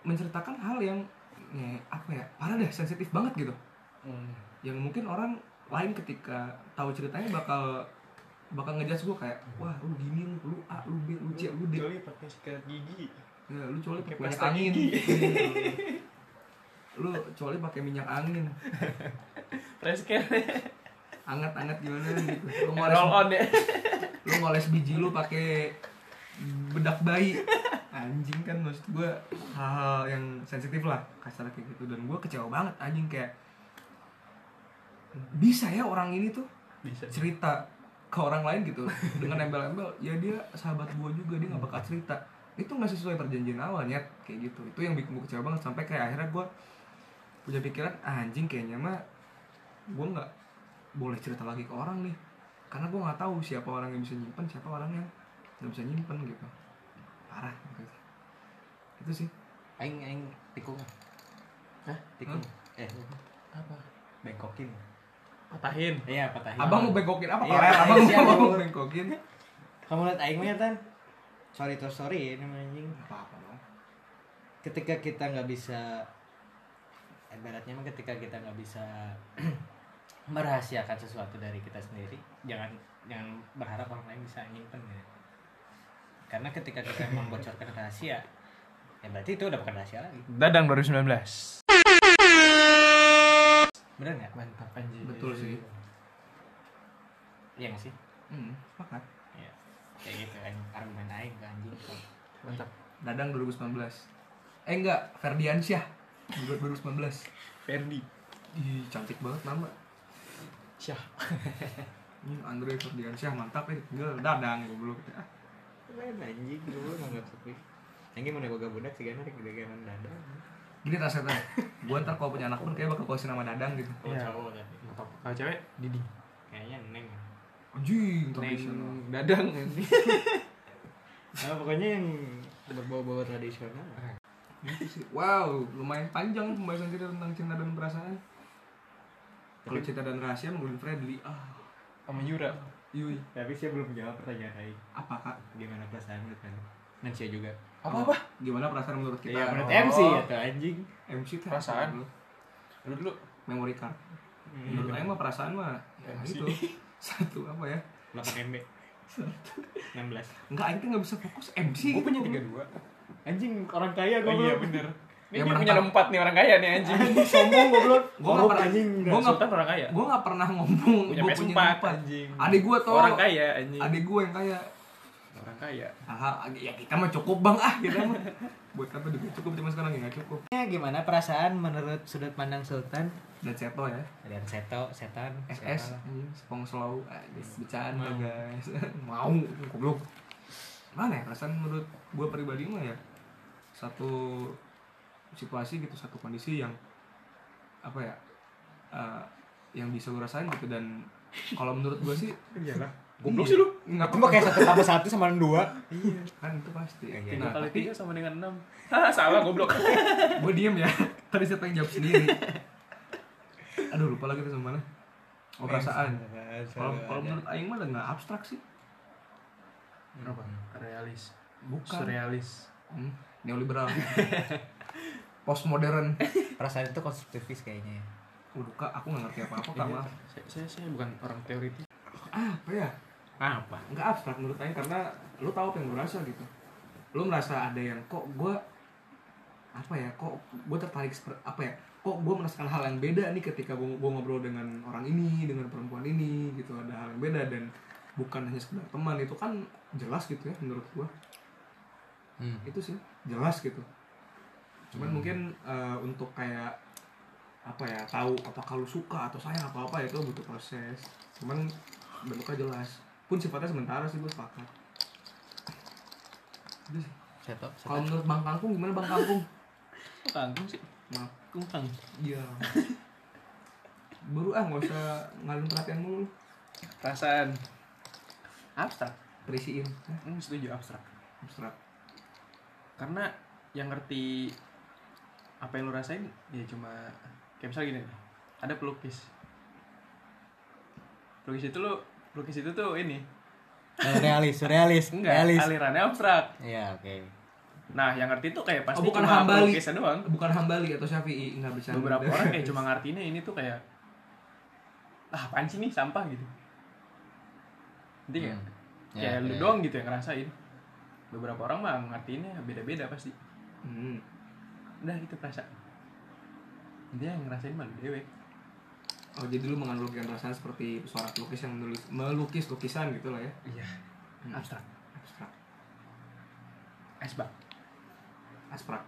Speaker 1: menceritakan hal yang ya, apa ya parah deh sensitif banget gitu
Speaker 2: Hmm.
Speaker 1: yang mungkin orang lain ketika tahu ceritanya bakal bakal ngejudge gue kayak wah lu gini lu lu A lu B lu C lu D
Speaker 2: Joli pakai sikat gigi.
Speaker 1: ya, lu coli pakai
Speaker 2: Pakai
Speaker 1: minyak
Speaker 2: pasta
Speaker 1: angin Iya,
Speaker 2: gigi.
Speaker 1: lu coli pakai minyak angin
Speaker 2: Preskir.
Speaker 1: anget-anget gimana gitu lu
Speaker 2: Eh, Roll
Speaker 1: ngoles
Speaker 2: on ya.
Speaker 1: lu ngoles biji lu pakai bedak bayi anjing kan maksud gue hal-hal yang sensitif lah kasar kayak gitu dan gue kecewa banget anjing kayak bisa ya orang ini tuh
Speaker 2: bisa
Speaker 1: cerita ke orang lain gitu dengan embel-embel ya dia sahabat gua juga dia nggak bakal cerita itu nggak sesuai perjanjian awalnya kayak gitu itu yang bikin gua kecewa banget sampai kayak akhirnya gua punya pikiran "Ah, anjing kayaknya mah gua nggak boleh cerita lagi ke orang nih karena gua nggak tahu siapa orang yang bisa nyimpen siapa orang yang nggak bisa nyimpen gitu parah gitu. itu sih
Speaker 3: Aing aing tikung.
Speaker 2: Hah?
Speaker 3: Tikung. Eh,
Speaker 2: apa
Speaker 3: bengkokin.
Speaker 2: patahin
Speaker 3: Iya, patahin.
Speaker 1: abang mau bengkokin apa
Speaker 3: Iya,
Speaker 1: koret abang
Speaker 3: iya,
Speaker 1: mau-
Speaker 3: abang.
Speaker 1: mau bengkokin
Speaker 3: Kamu lihat aing mah ya, Tan? Sorry to sorry ini mah, anjing.
Speaker 1: apa apa dong
Speaker 3: Ketika kita nggak bisa ibaratnya mah ketika kita nggak bisa merahasiakan sesuatu dari kita sendiri, jangan jangan berharap orang lain bisa nyimpen ya. Karena ketika kita membocorkan rahasia, ya berarti itu udah bukan rahasia lagi.
Speaker 2: dadang 2019
Speaker 3: Bener nggak?
Speaker 2: mantap anjing
Speaker 1: betul sih
Speaker 3: Iya nggak sih?
Speaker 1: hmm, sepakat
Speaker 3: Iya. Kayak gitu kan argumen aing ke anjing.
Speaker 2: mantap
Speaker 1: Dadang 2019 Eh enggak, Ferdiansyah 2019
Speaker 2: Ferdi
Speaker 1: Ih, cantik banget nama
Speaker 2: Syah
Speaker 1: Ini Andre Ferdiansyah, mantap ya Tinggal Dadang goblok Ah,
Speaker 3: Keren anjing dulu nganggap sepi. Anjing mana boga budak sih kan gede ganan dada.
Speaker 1: Gini rasanya Gue ntar kalau punya anak pun kayak bakal kasih nama Dadang gitu
Speaker 3: Kalau
Speaker 2: Iya.
Speaker 3: cowok tadi.
Speaker 2: mantap kalau cewek Didi
Speaker 3: Kayaknya neng.
Speaker 1: Anjing, tradisional
Speaker 2: Neng dadang ini
Speaker 3: Nah, pokoknya yang berbau-bau tradisional.
Speaker 1: Gitu sih. Wow, lumayan panjang pembahasan kita tentang cinta dan perasaan
Speaker 2: Ya,
Speaker 1: Kalau cinta dan rahasia menggunakan Fredly Ah,
Speaker 2: sama Yura
Speaker 1: yui
Speaker 3: Tapi saya belum menjawab pertanyaan Aing.
Speaker 1: Apa kak?
Speaker 3: Gimana perasaan menurut kamu? Dan saya juga.
Speaker 2: apa apa
Speaker 1: Gimana perasaan menurut kita?
Speaker 3: Iya, menurut
Speaker 2: oh.
Speaker 3: MC ya tuh anjing.
Speaker 1: MC tuh
Speaker 2: Perasaan.
Speaker 1: apa dulu?
Speaker 2: lu dulu
Speaker 1: Memory card
Speaker 2: Hmm.
Speaker 1: Menurut saya mah perasaan mah ya
Speaker 2: MC.
Speaker 1: gitu. Satu apa ya?
Speaker 3: 8 MB. 16.
Speaker 1: Enggak, Aing tuh nggak bisa fokus MC.
Speaker 2: gue punya tiga dua
Speaker 3: Anjing orang kaya
Speaker 2: oh iya
Speaker 3: goblok.
Speaker 2: bener
Speaker 1: Yang
Speaker 2: ini dia
Speaker 1: menang
Speaker 2: punya
Speaker 1: tak?
Speaker 2: ada empat nih orang kaya nih anjing
Speaker 3: sombong goblok.
Speaker 1: Gua nggak
Speaker 3: Goblok,
Speaker 1: pernah
Speaker 3: anjing.
Speaker 1: Gua nggak
Speaker 2: Sultan orang kaya
Speaker 1: gua nggak pernah ngomong
Speaker 2: punya
Speaker 1: gua
Speaker 2: PS4 anjing
Speaker 1: Adik gua tuh
Speaker 2: orang kaya anjing
Speaker 1: Adik gua yang kaya.
Speaker 2: orang kaya
Speaker 1: Ah, ya kita mah cukup Bang ah kita mah. Buat apa juga cukup cuma sekarang ya nggak cukup.
Speaker 3: Ya, gimana perasaan menurut sudut pandang Sultan
Speaker 1: Dan Seto ya.
Speaker 3: dan Seto, Setan,
Speaker 1: SS anjing, Sepong Slow. Anjing, bercanda guys. Mau goblok. Mana ya perasaan menurut gua pribadi mah ya satu situasi gitu, satu kondisi yang apa ya? eh, yang bisa gue rasain gitu dan kalau menurut gua sih
Speaker 2: iyalah
Speaker 1: goblok sih lu nggak
Speaker 3: Cuma kayak satu tambah satu sama dua.
Speaker 1: kan itu pasti
Speaker 3: Iya,
Speaker 1: nah
Speaker 2: tiga kali
Speaker 1: tapi
Speaker 2: tiga sama dengan enam Hah, salah goblok
Speaker 1: gue diem ya tadi saya pengen jawab sendiri aduh lupa lagi tuh sama mana oh perasaan
Speaker 3: Iya,
Speaker 1: kalau kalau menurut Aing mah udah nggak abstrak sih
Speaker 2: apa realis
Speaker 1: bukan
Speaker 2: surrealis
Speaker 1: hmm, neoliberal postmodern
Speaker 3: perasaan itu konstruktivis kayaknya. ya.
Speaker 1: Waduh kak, aku nggak ngerti apa-apa kak, maaf
Speaker 2: saya, saya, saya bukan orang teoritis
Speaker 1: Apa ya?
Speaker 3: Apa?
Speaker 1: Nggak abstrak menurut Aing karena lu tahu apa yang lu rasa gitu Lu merasa ada yang kok gue Apa ya, kok gue tertarik seperti apa ya Kok gue merasakan hal yang beda nih ketika gue ngobrol dengan orang ini, dengan perempuan ini gitu Ada hal yang beda dan bukan hanya sekedar teman itu kan jelas gitu ya menurut gue
Speaker 3: Hmm.
Speaker 1: itu sih jelas gitu cuman mungkin eh, untuk kayak apa ya tahu apakah lu suka atau sayang atau apa itu butuh proses cuman bentuknya jelas pun sifatnya sementara sih gue sepakat Itu sih.
Speaker 3: Seto.
Speaker 1: kalau menurut bang kangkung gimana bang kangkung
Speaker 2: Kok kangkung sih
Speaker 1: maaf
Speaker 2: kungkang
Speaker 1: iya baru ah nggak usah ngalun perhatian mulu lu.
Speaker 2: perasaan abstrak
Speaker 1: terisiin Hah,
Speaker 2: hmm, setuju abstrak
Speaker 1: abstrak
Speaker 2: karena yang ngerti apa yang lu rasain ya cuma kayak misalnya gini nih, ada pelukis pelukis itu lu pelukis itu tuh ini
Speaker 3: Eh, realis, realis,
Speaker 2: enggak
Speaker 3: realis.
Speaker 2: alirannya abstrak
Speaker 3: Iya, oke.
Speaker 2: nah yang ngerti tuh kayak pasti
Speaker 1: Oh, bukan
Speaker 2: cuma
Speaker 1: hambali.
Speaker 2: pelukisnya doang
Speaker 1: bukan hambali atau syafi'i nggak bisa
Speaker 2: beberapa orang kayak cuma ngartinya ini tuh kayak ah apaan sih nih sampah gitu nanti kayak
Speaker 3: Hmm.
Speaker 2: kayak
Speaker 3: Ya,
Speaker 2: lu
Speaker 3: ya.
Speaker 2: doang gitu yang ngerasain beberapa orang mah ngertiinnya beda-beda pasti
Speaker 1: hmm.
Speaker 2: udah itu perasaan dia yang ngerasain malu dewek
Speaker 1: Oh jadi lu menganalogikan perasaan seperti seorang pelukis yang menulis, melukis lukisan gitu lah ya
Speaker 2: iya
Speaker 1: Hmm.
Speaker 2: abstrak
Speaker 1: Abstrak
Speaker 2: asbak
Speaker 1: Asprak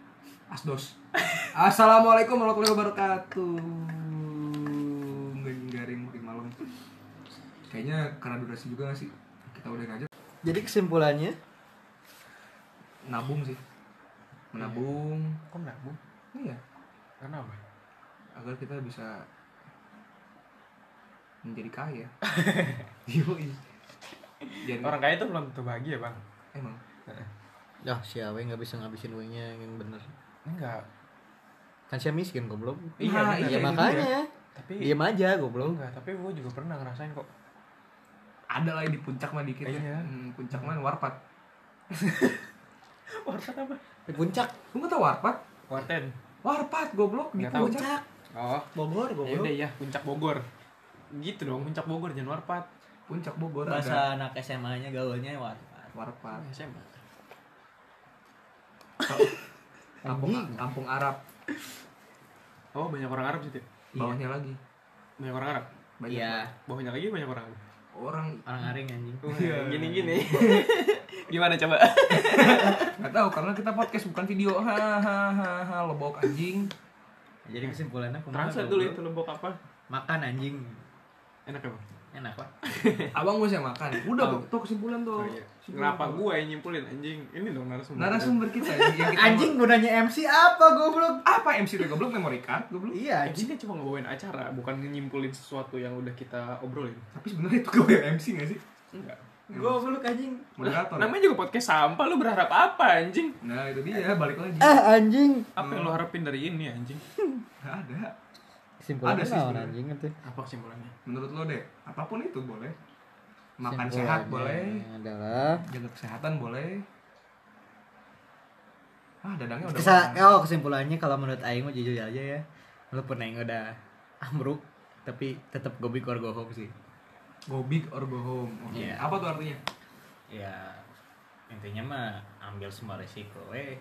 Speaker 1: Asdos Assalamualaikum warahmatullahi wabarakatuh Nggak kayaknya karena durasi juga gak sih kita udahin aja
Speaker 3: Jadi kesimpulannya
Speaker 1: nabung sih menabung
Speaker 2: Kok menabung?
Speaker 1: iya
Speaker 2: Karena apa?
Speaker 1: agar kita bisa menjadi kaya Yoi. Jadi
Speaker 2: Orang kaya itu belum tentu bahagia bang
Speaker 1: emang
Speaker 3: Dah si Awe nggak bisa ngabisin uangnya yang bener
Speaker 2: Enggak
Speaker 3: Kan saya miskin goblok
Speaker 2: Iya,
Speaker 1: Nah,
Speaker 2: bener.
Speaker 3: Ya
Speaker 1: itu dia.
Speaker 3: makanya
Speaker 2: Tapi
Speaker 3: Diam aja goblok
Speaker 2: Enggak, tapi gue juga pernah ngerasain kok
Speaker 1: ada lah di puncak mah dikit
Speaker 2: Iya.
Speaker 1: Hmm, puncak mah warpat
Speaker 2: Wartet apa?
Speaker 3: Di puncak
Speaker 1: lu nggak tau warpat
Speaker 2: Warten
Speaker 1: warpat goblok di
Speaker 2: Nggak tahu.
Speaker 1: puncak
Speaker 2: Oh
Speaker 3: Bogor
Speaker 2: Ya udah ya, puncak Bogor Gitu dong, puncak Bogor jangan warpat
Speaker 1: puncak bogor ada
Speaker 3: Bahasa anak SMA-nya gaulnya war.
Speaker 1: warpat
Speaker 2: SMA
Speaker 1: kampung kampung Arab
Speaker 2: Oh banyak orang Arab sih Tip
Speaker 1: bawahnya lagi
Speaker 2: Banyak orang Arab
Speaker 1: banyak
Speaker 3: Iya,
Speaker 2: Bawahnya lagi banyak orang Arab
Speaker 1: orang
Speaker 3: orang aring anjing.
Speaker 2: Wah, Gini-gini Gimana coba?
Speaker 1: nggak tahu karena kita podcast bukan video hahaha lebok anjing
Speaker 3: Jadi kesimpulannya kumaha,
Speaker 2: Translate dulu
Speaker 3: goblok?
Speaker 2: itu lombok apa
Speaker 3: Makan anjing.
Speaker 2: Enak ya bang?
Speaker 3: Enak lah.
Speaker 1: abang gue yang makan udah
Speaker 2: Oh.
Speaker 1: tuh, tuh kesimpulan tuh
Speaker 2: Oh, iya.
Speaker 1: Kesimpulan
Speaker 2: Kenapa
Speaker 1: tuh.
Speaker 2: gue yang nyimpulin anjing? Ini dong narasumber
Speaker 1: narasumber kita yang kita-
Speaker 3: Anjing gunanya MC apa goblok?
Speaker 1: apa MC itu goblok memori card goblok
Speaker 3: Iya,
Speaker 2: MC kan cuma ngebawain acara, bukan nyimpulin sesuatu yang udah kita obrolin.
Speaker 1: tapi sebenarnya itu gue yang MC gak sih
Speaker 2: Enggak.
Speaker 3: goblok anjing.
Speaker 1: moderator ya?
Speaker 2: Namanya juga podcast sampah, lu berharap apa anjing?
Speaker 1: nah itu dia balik lagi
Speaker 3: Eh anjing.
Speaker 2: Apa yang lu harapin dari ini anjing?
Speaker 1: nggak ada
Speaker 3: Kesimpulannya
Speaker 1: Ada sih
Speaker 3: naon
Speaker 1: sebenarnya.
Speaker 3: anjing itu?
Speaker 2: Apa kesimpulannya?
Speaker 1: menurut lo deh apapun itu boleh makan sehat boleh
Speaker 3: Kesimpulannya Adalah
Speaker 1: jaga kesehatan boleh ah dadangnya udah
Speaker 3: Kesa
Speaker 1: makan.
Speaker 3: oh kesimpulannya kalau menurut Aing mah jujur aja ya walaupun Aing udah ambruk tapi tetap gobik or go home sih
Speaker 1: go big or go home oke
Speaker 3: Iya.
Speaker 1: apa tuh artinya
Speaker 3: ya intinya mah ambil semua resiko eh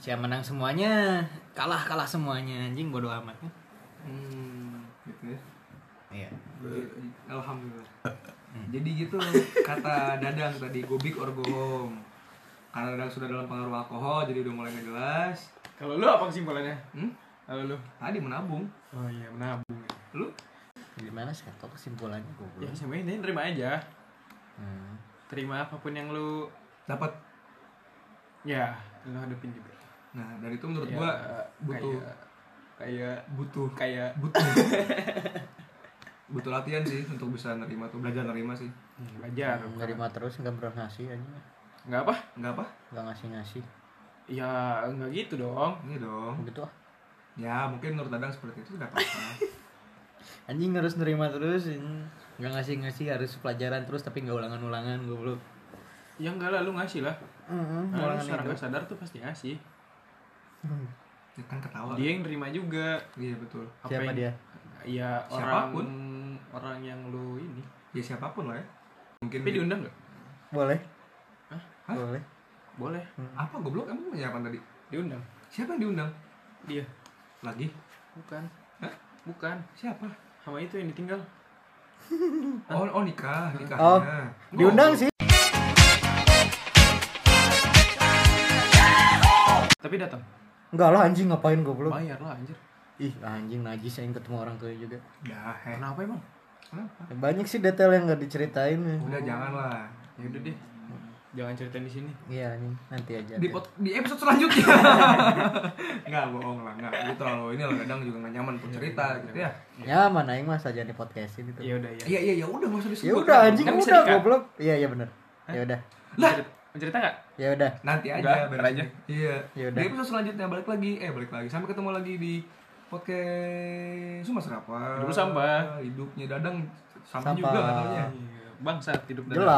Speaker 3: siapa menang semuanya kalah kalah semuanya anjing bodoh amat ya
Speaker 1: hmm, gitu ya
Speaker 3: iya
Speaker 1: Alhamdulillah. Jadi gitu kata Dadang tadi go big or go home. Karena Dadang sudah dalam pengaruh alkohol jadi udah mulai nggak jelas.
Speaker 2: Kalau lu apa kesimpulannya?
Speaker 1: Hmm?
Speaker 2: Kalau lu?
Speaker 1: Tadi menabung.
Speaker 2: Oh iya, menabung.
Speaker 1: Lu
Speaker 3: gimana sih kata kesimpulannya
Speaker 2: Ya
Speaker 3: goblok
Speaker 2: semuanya ini terima aja.
Speaker 3: hmm.
Speaker 2: Terima apapun yang lu
Speaker 1: dapat.
Speaker 2: ya lu hadapin juga.
Speaker 1: Nah, dari itu menurut
Speaker 2: Ya,
Speaker 1: gua butuh
Speaker 2: kayak
Speaker 1: butuh
Speaker 2: kayak
Speaker 1: butuh butuh latihan sih untuk bisa nerima tuh belajar nerima sih.
Speaker 2: hmm, belajar.
Speaker 1: Ya,
Speaker 3: nerima terus nggak pernah ngasih anjing
Speaker 2: Enggak apa?
Speaker 1: Enggak apa?
Speaker 3: nggak ngasih ngasih
Speaker 2: Ya enggak gitu dong.
Speaker 1: Ini Iya dong.
Speaker 3: gitu ah
Speaker 1: Ya, mungkin menurut Dadang seperti itu enggak apa-apa.
Speaker 3: anjing harus nerima terus anjing. nggak ngasih ngasih harus pelajaran terus tapi nggak ulangan ulangan goblok
Speaker 2: Ya enggak lah lu ngasih lah.
Speaker 3: Mm-mm,
Speaker 2: Nah, lu
Speaker 3: ulangan
Speaker 2: secara
Speaker 3: itu.
Speaker 2: nggak sadar tuh pasti ngasih.
Speaker 3: Hmm.
Speaker 1: Ya kan ketawa.
Speaker 2: Dia yang nerima juga.
Speaker 1: Iya, betul.
Speaker 2: Apa
Speaker 3: siapa
Speaker 2: yang-
Speaker 3: dia
Speaker 2: Ya orang
Speaker 1: Siapapun.
Speaker 2: orang yang lu ini.
Speaker 1: Ya siapapun lah ya. Mungkin
Speaker 2: Tapi diundang nggak?
Speaker 3: boleh
Speaker 2: Hah?
Speaker 1: Hah?
Speaker 3: boleh
Speaker 2: Boleh,
Speaker 1: Hmm. apa goblok emang punya apa tadi?
Speaker 2: diundang.
Speaker 1: Siapa yang diundang?
Speaker 2: Dia.
Speaker 1: Lagi?
Speaker 2: Bukan.
Speaker 1: Hah?
Speaker 2: Bukan.
Speaker 1: Siapa?
Speaker 2: Sama itu yang ditinggal.
Speaker 1: Oh, oh nikah, nikahnya.
Speaker 3: Oh, diundang sih
Speaker 2: Tapi datang.
Speaker 3: Enggak lah anjing ngapain goblok.
Speaker 2: Bayar lah anjir.
Speaker 3: Ih, anjing najis yang ketemu orang kaya juga.
Speaker 1: Dah, eh.
Speaker 2: Kenapa emang?
Speaker 1: Kenapa?
Speaker 3: Banyak sih detail yang nggak diceritain. ya.
Speaker 1: Udah jangan lah.
Speaker 2: Ya udah deh. Jangan ceritain di sini.
Speaker 3: Iya anjing, nanti aja.
Speaker 1: Di, pot- di episode selanjutnya. Enggak bohong lah, enggak. Itu terlalu ini loh kadang juga enggak nyaman pun cerita
Speaker 3: Iya,
Speaker 1: gitu ya.
Speaker 3: Ya mana aing mah saja di podcastin itu.
Speaker 2: Ya udah ya.
Speaker 1: Iya, iya, ya udah enggak usah disebut.
Speaker 3: Ya udah anjing
Speaker 2: Kan bisa
Speaker 3: udah
Speaker 2: di-cut.
Speaker 3: goblok. Iya iya bener Ya udah.
Speaker 1: Lah.
Speaker 2: Mau cerita nggak?
Speaker 3: Ya udah.
Speaker 1: Nanti
Speaker 2: Udah,
Speaker 1: aja, beres
Speaker 2: ntar aja.
Speaker 1: ini. Iya.
Speaker 3: Ya udah.
Speaker 1: Di episode selanjutnya balik lagi, eh balik lagi. Sampai ketemu lagi di podcast Sumber Serapa.
Speaker 2: Hidup lu sampah.
Speaker 1: Hidupnya Dadang sampah,
Speaker 3: Sampah.
Speaker 1: juga katanya.
Speaker 2: Iya. Bangsat hidup dan
Speaker 3: Jelas.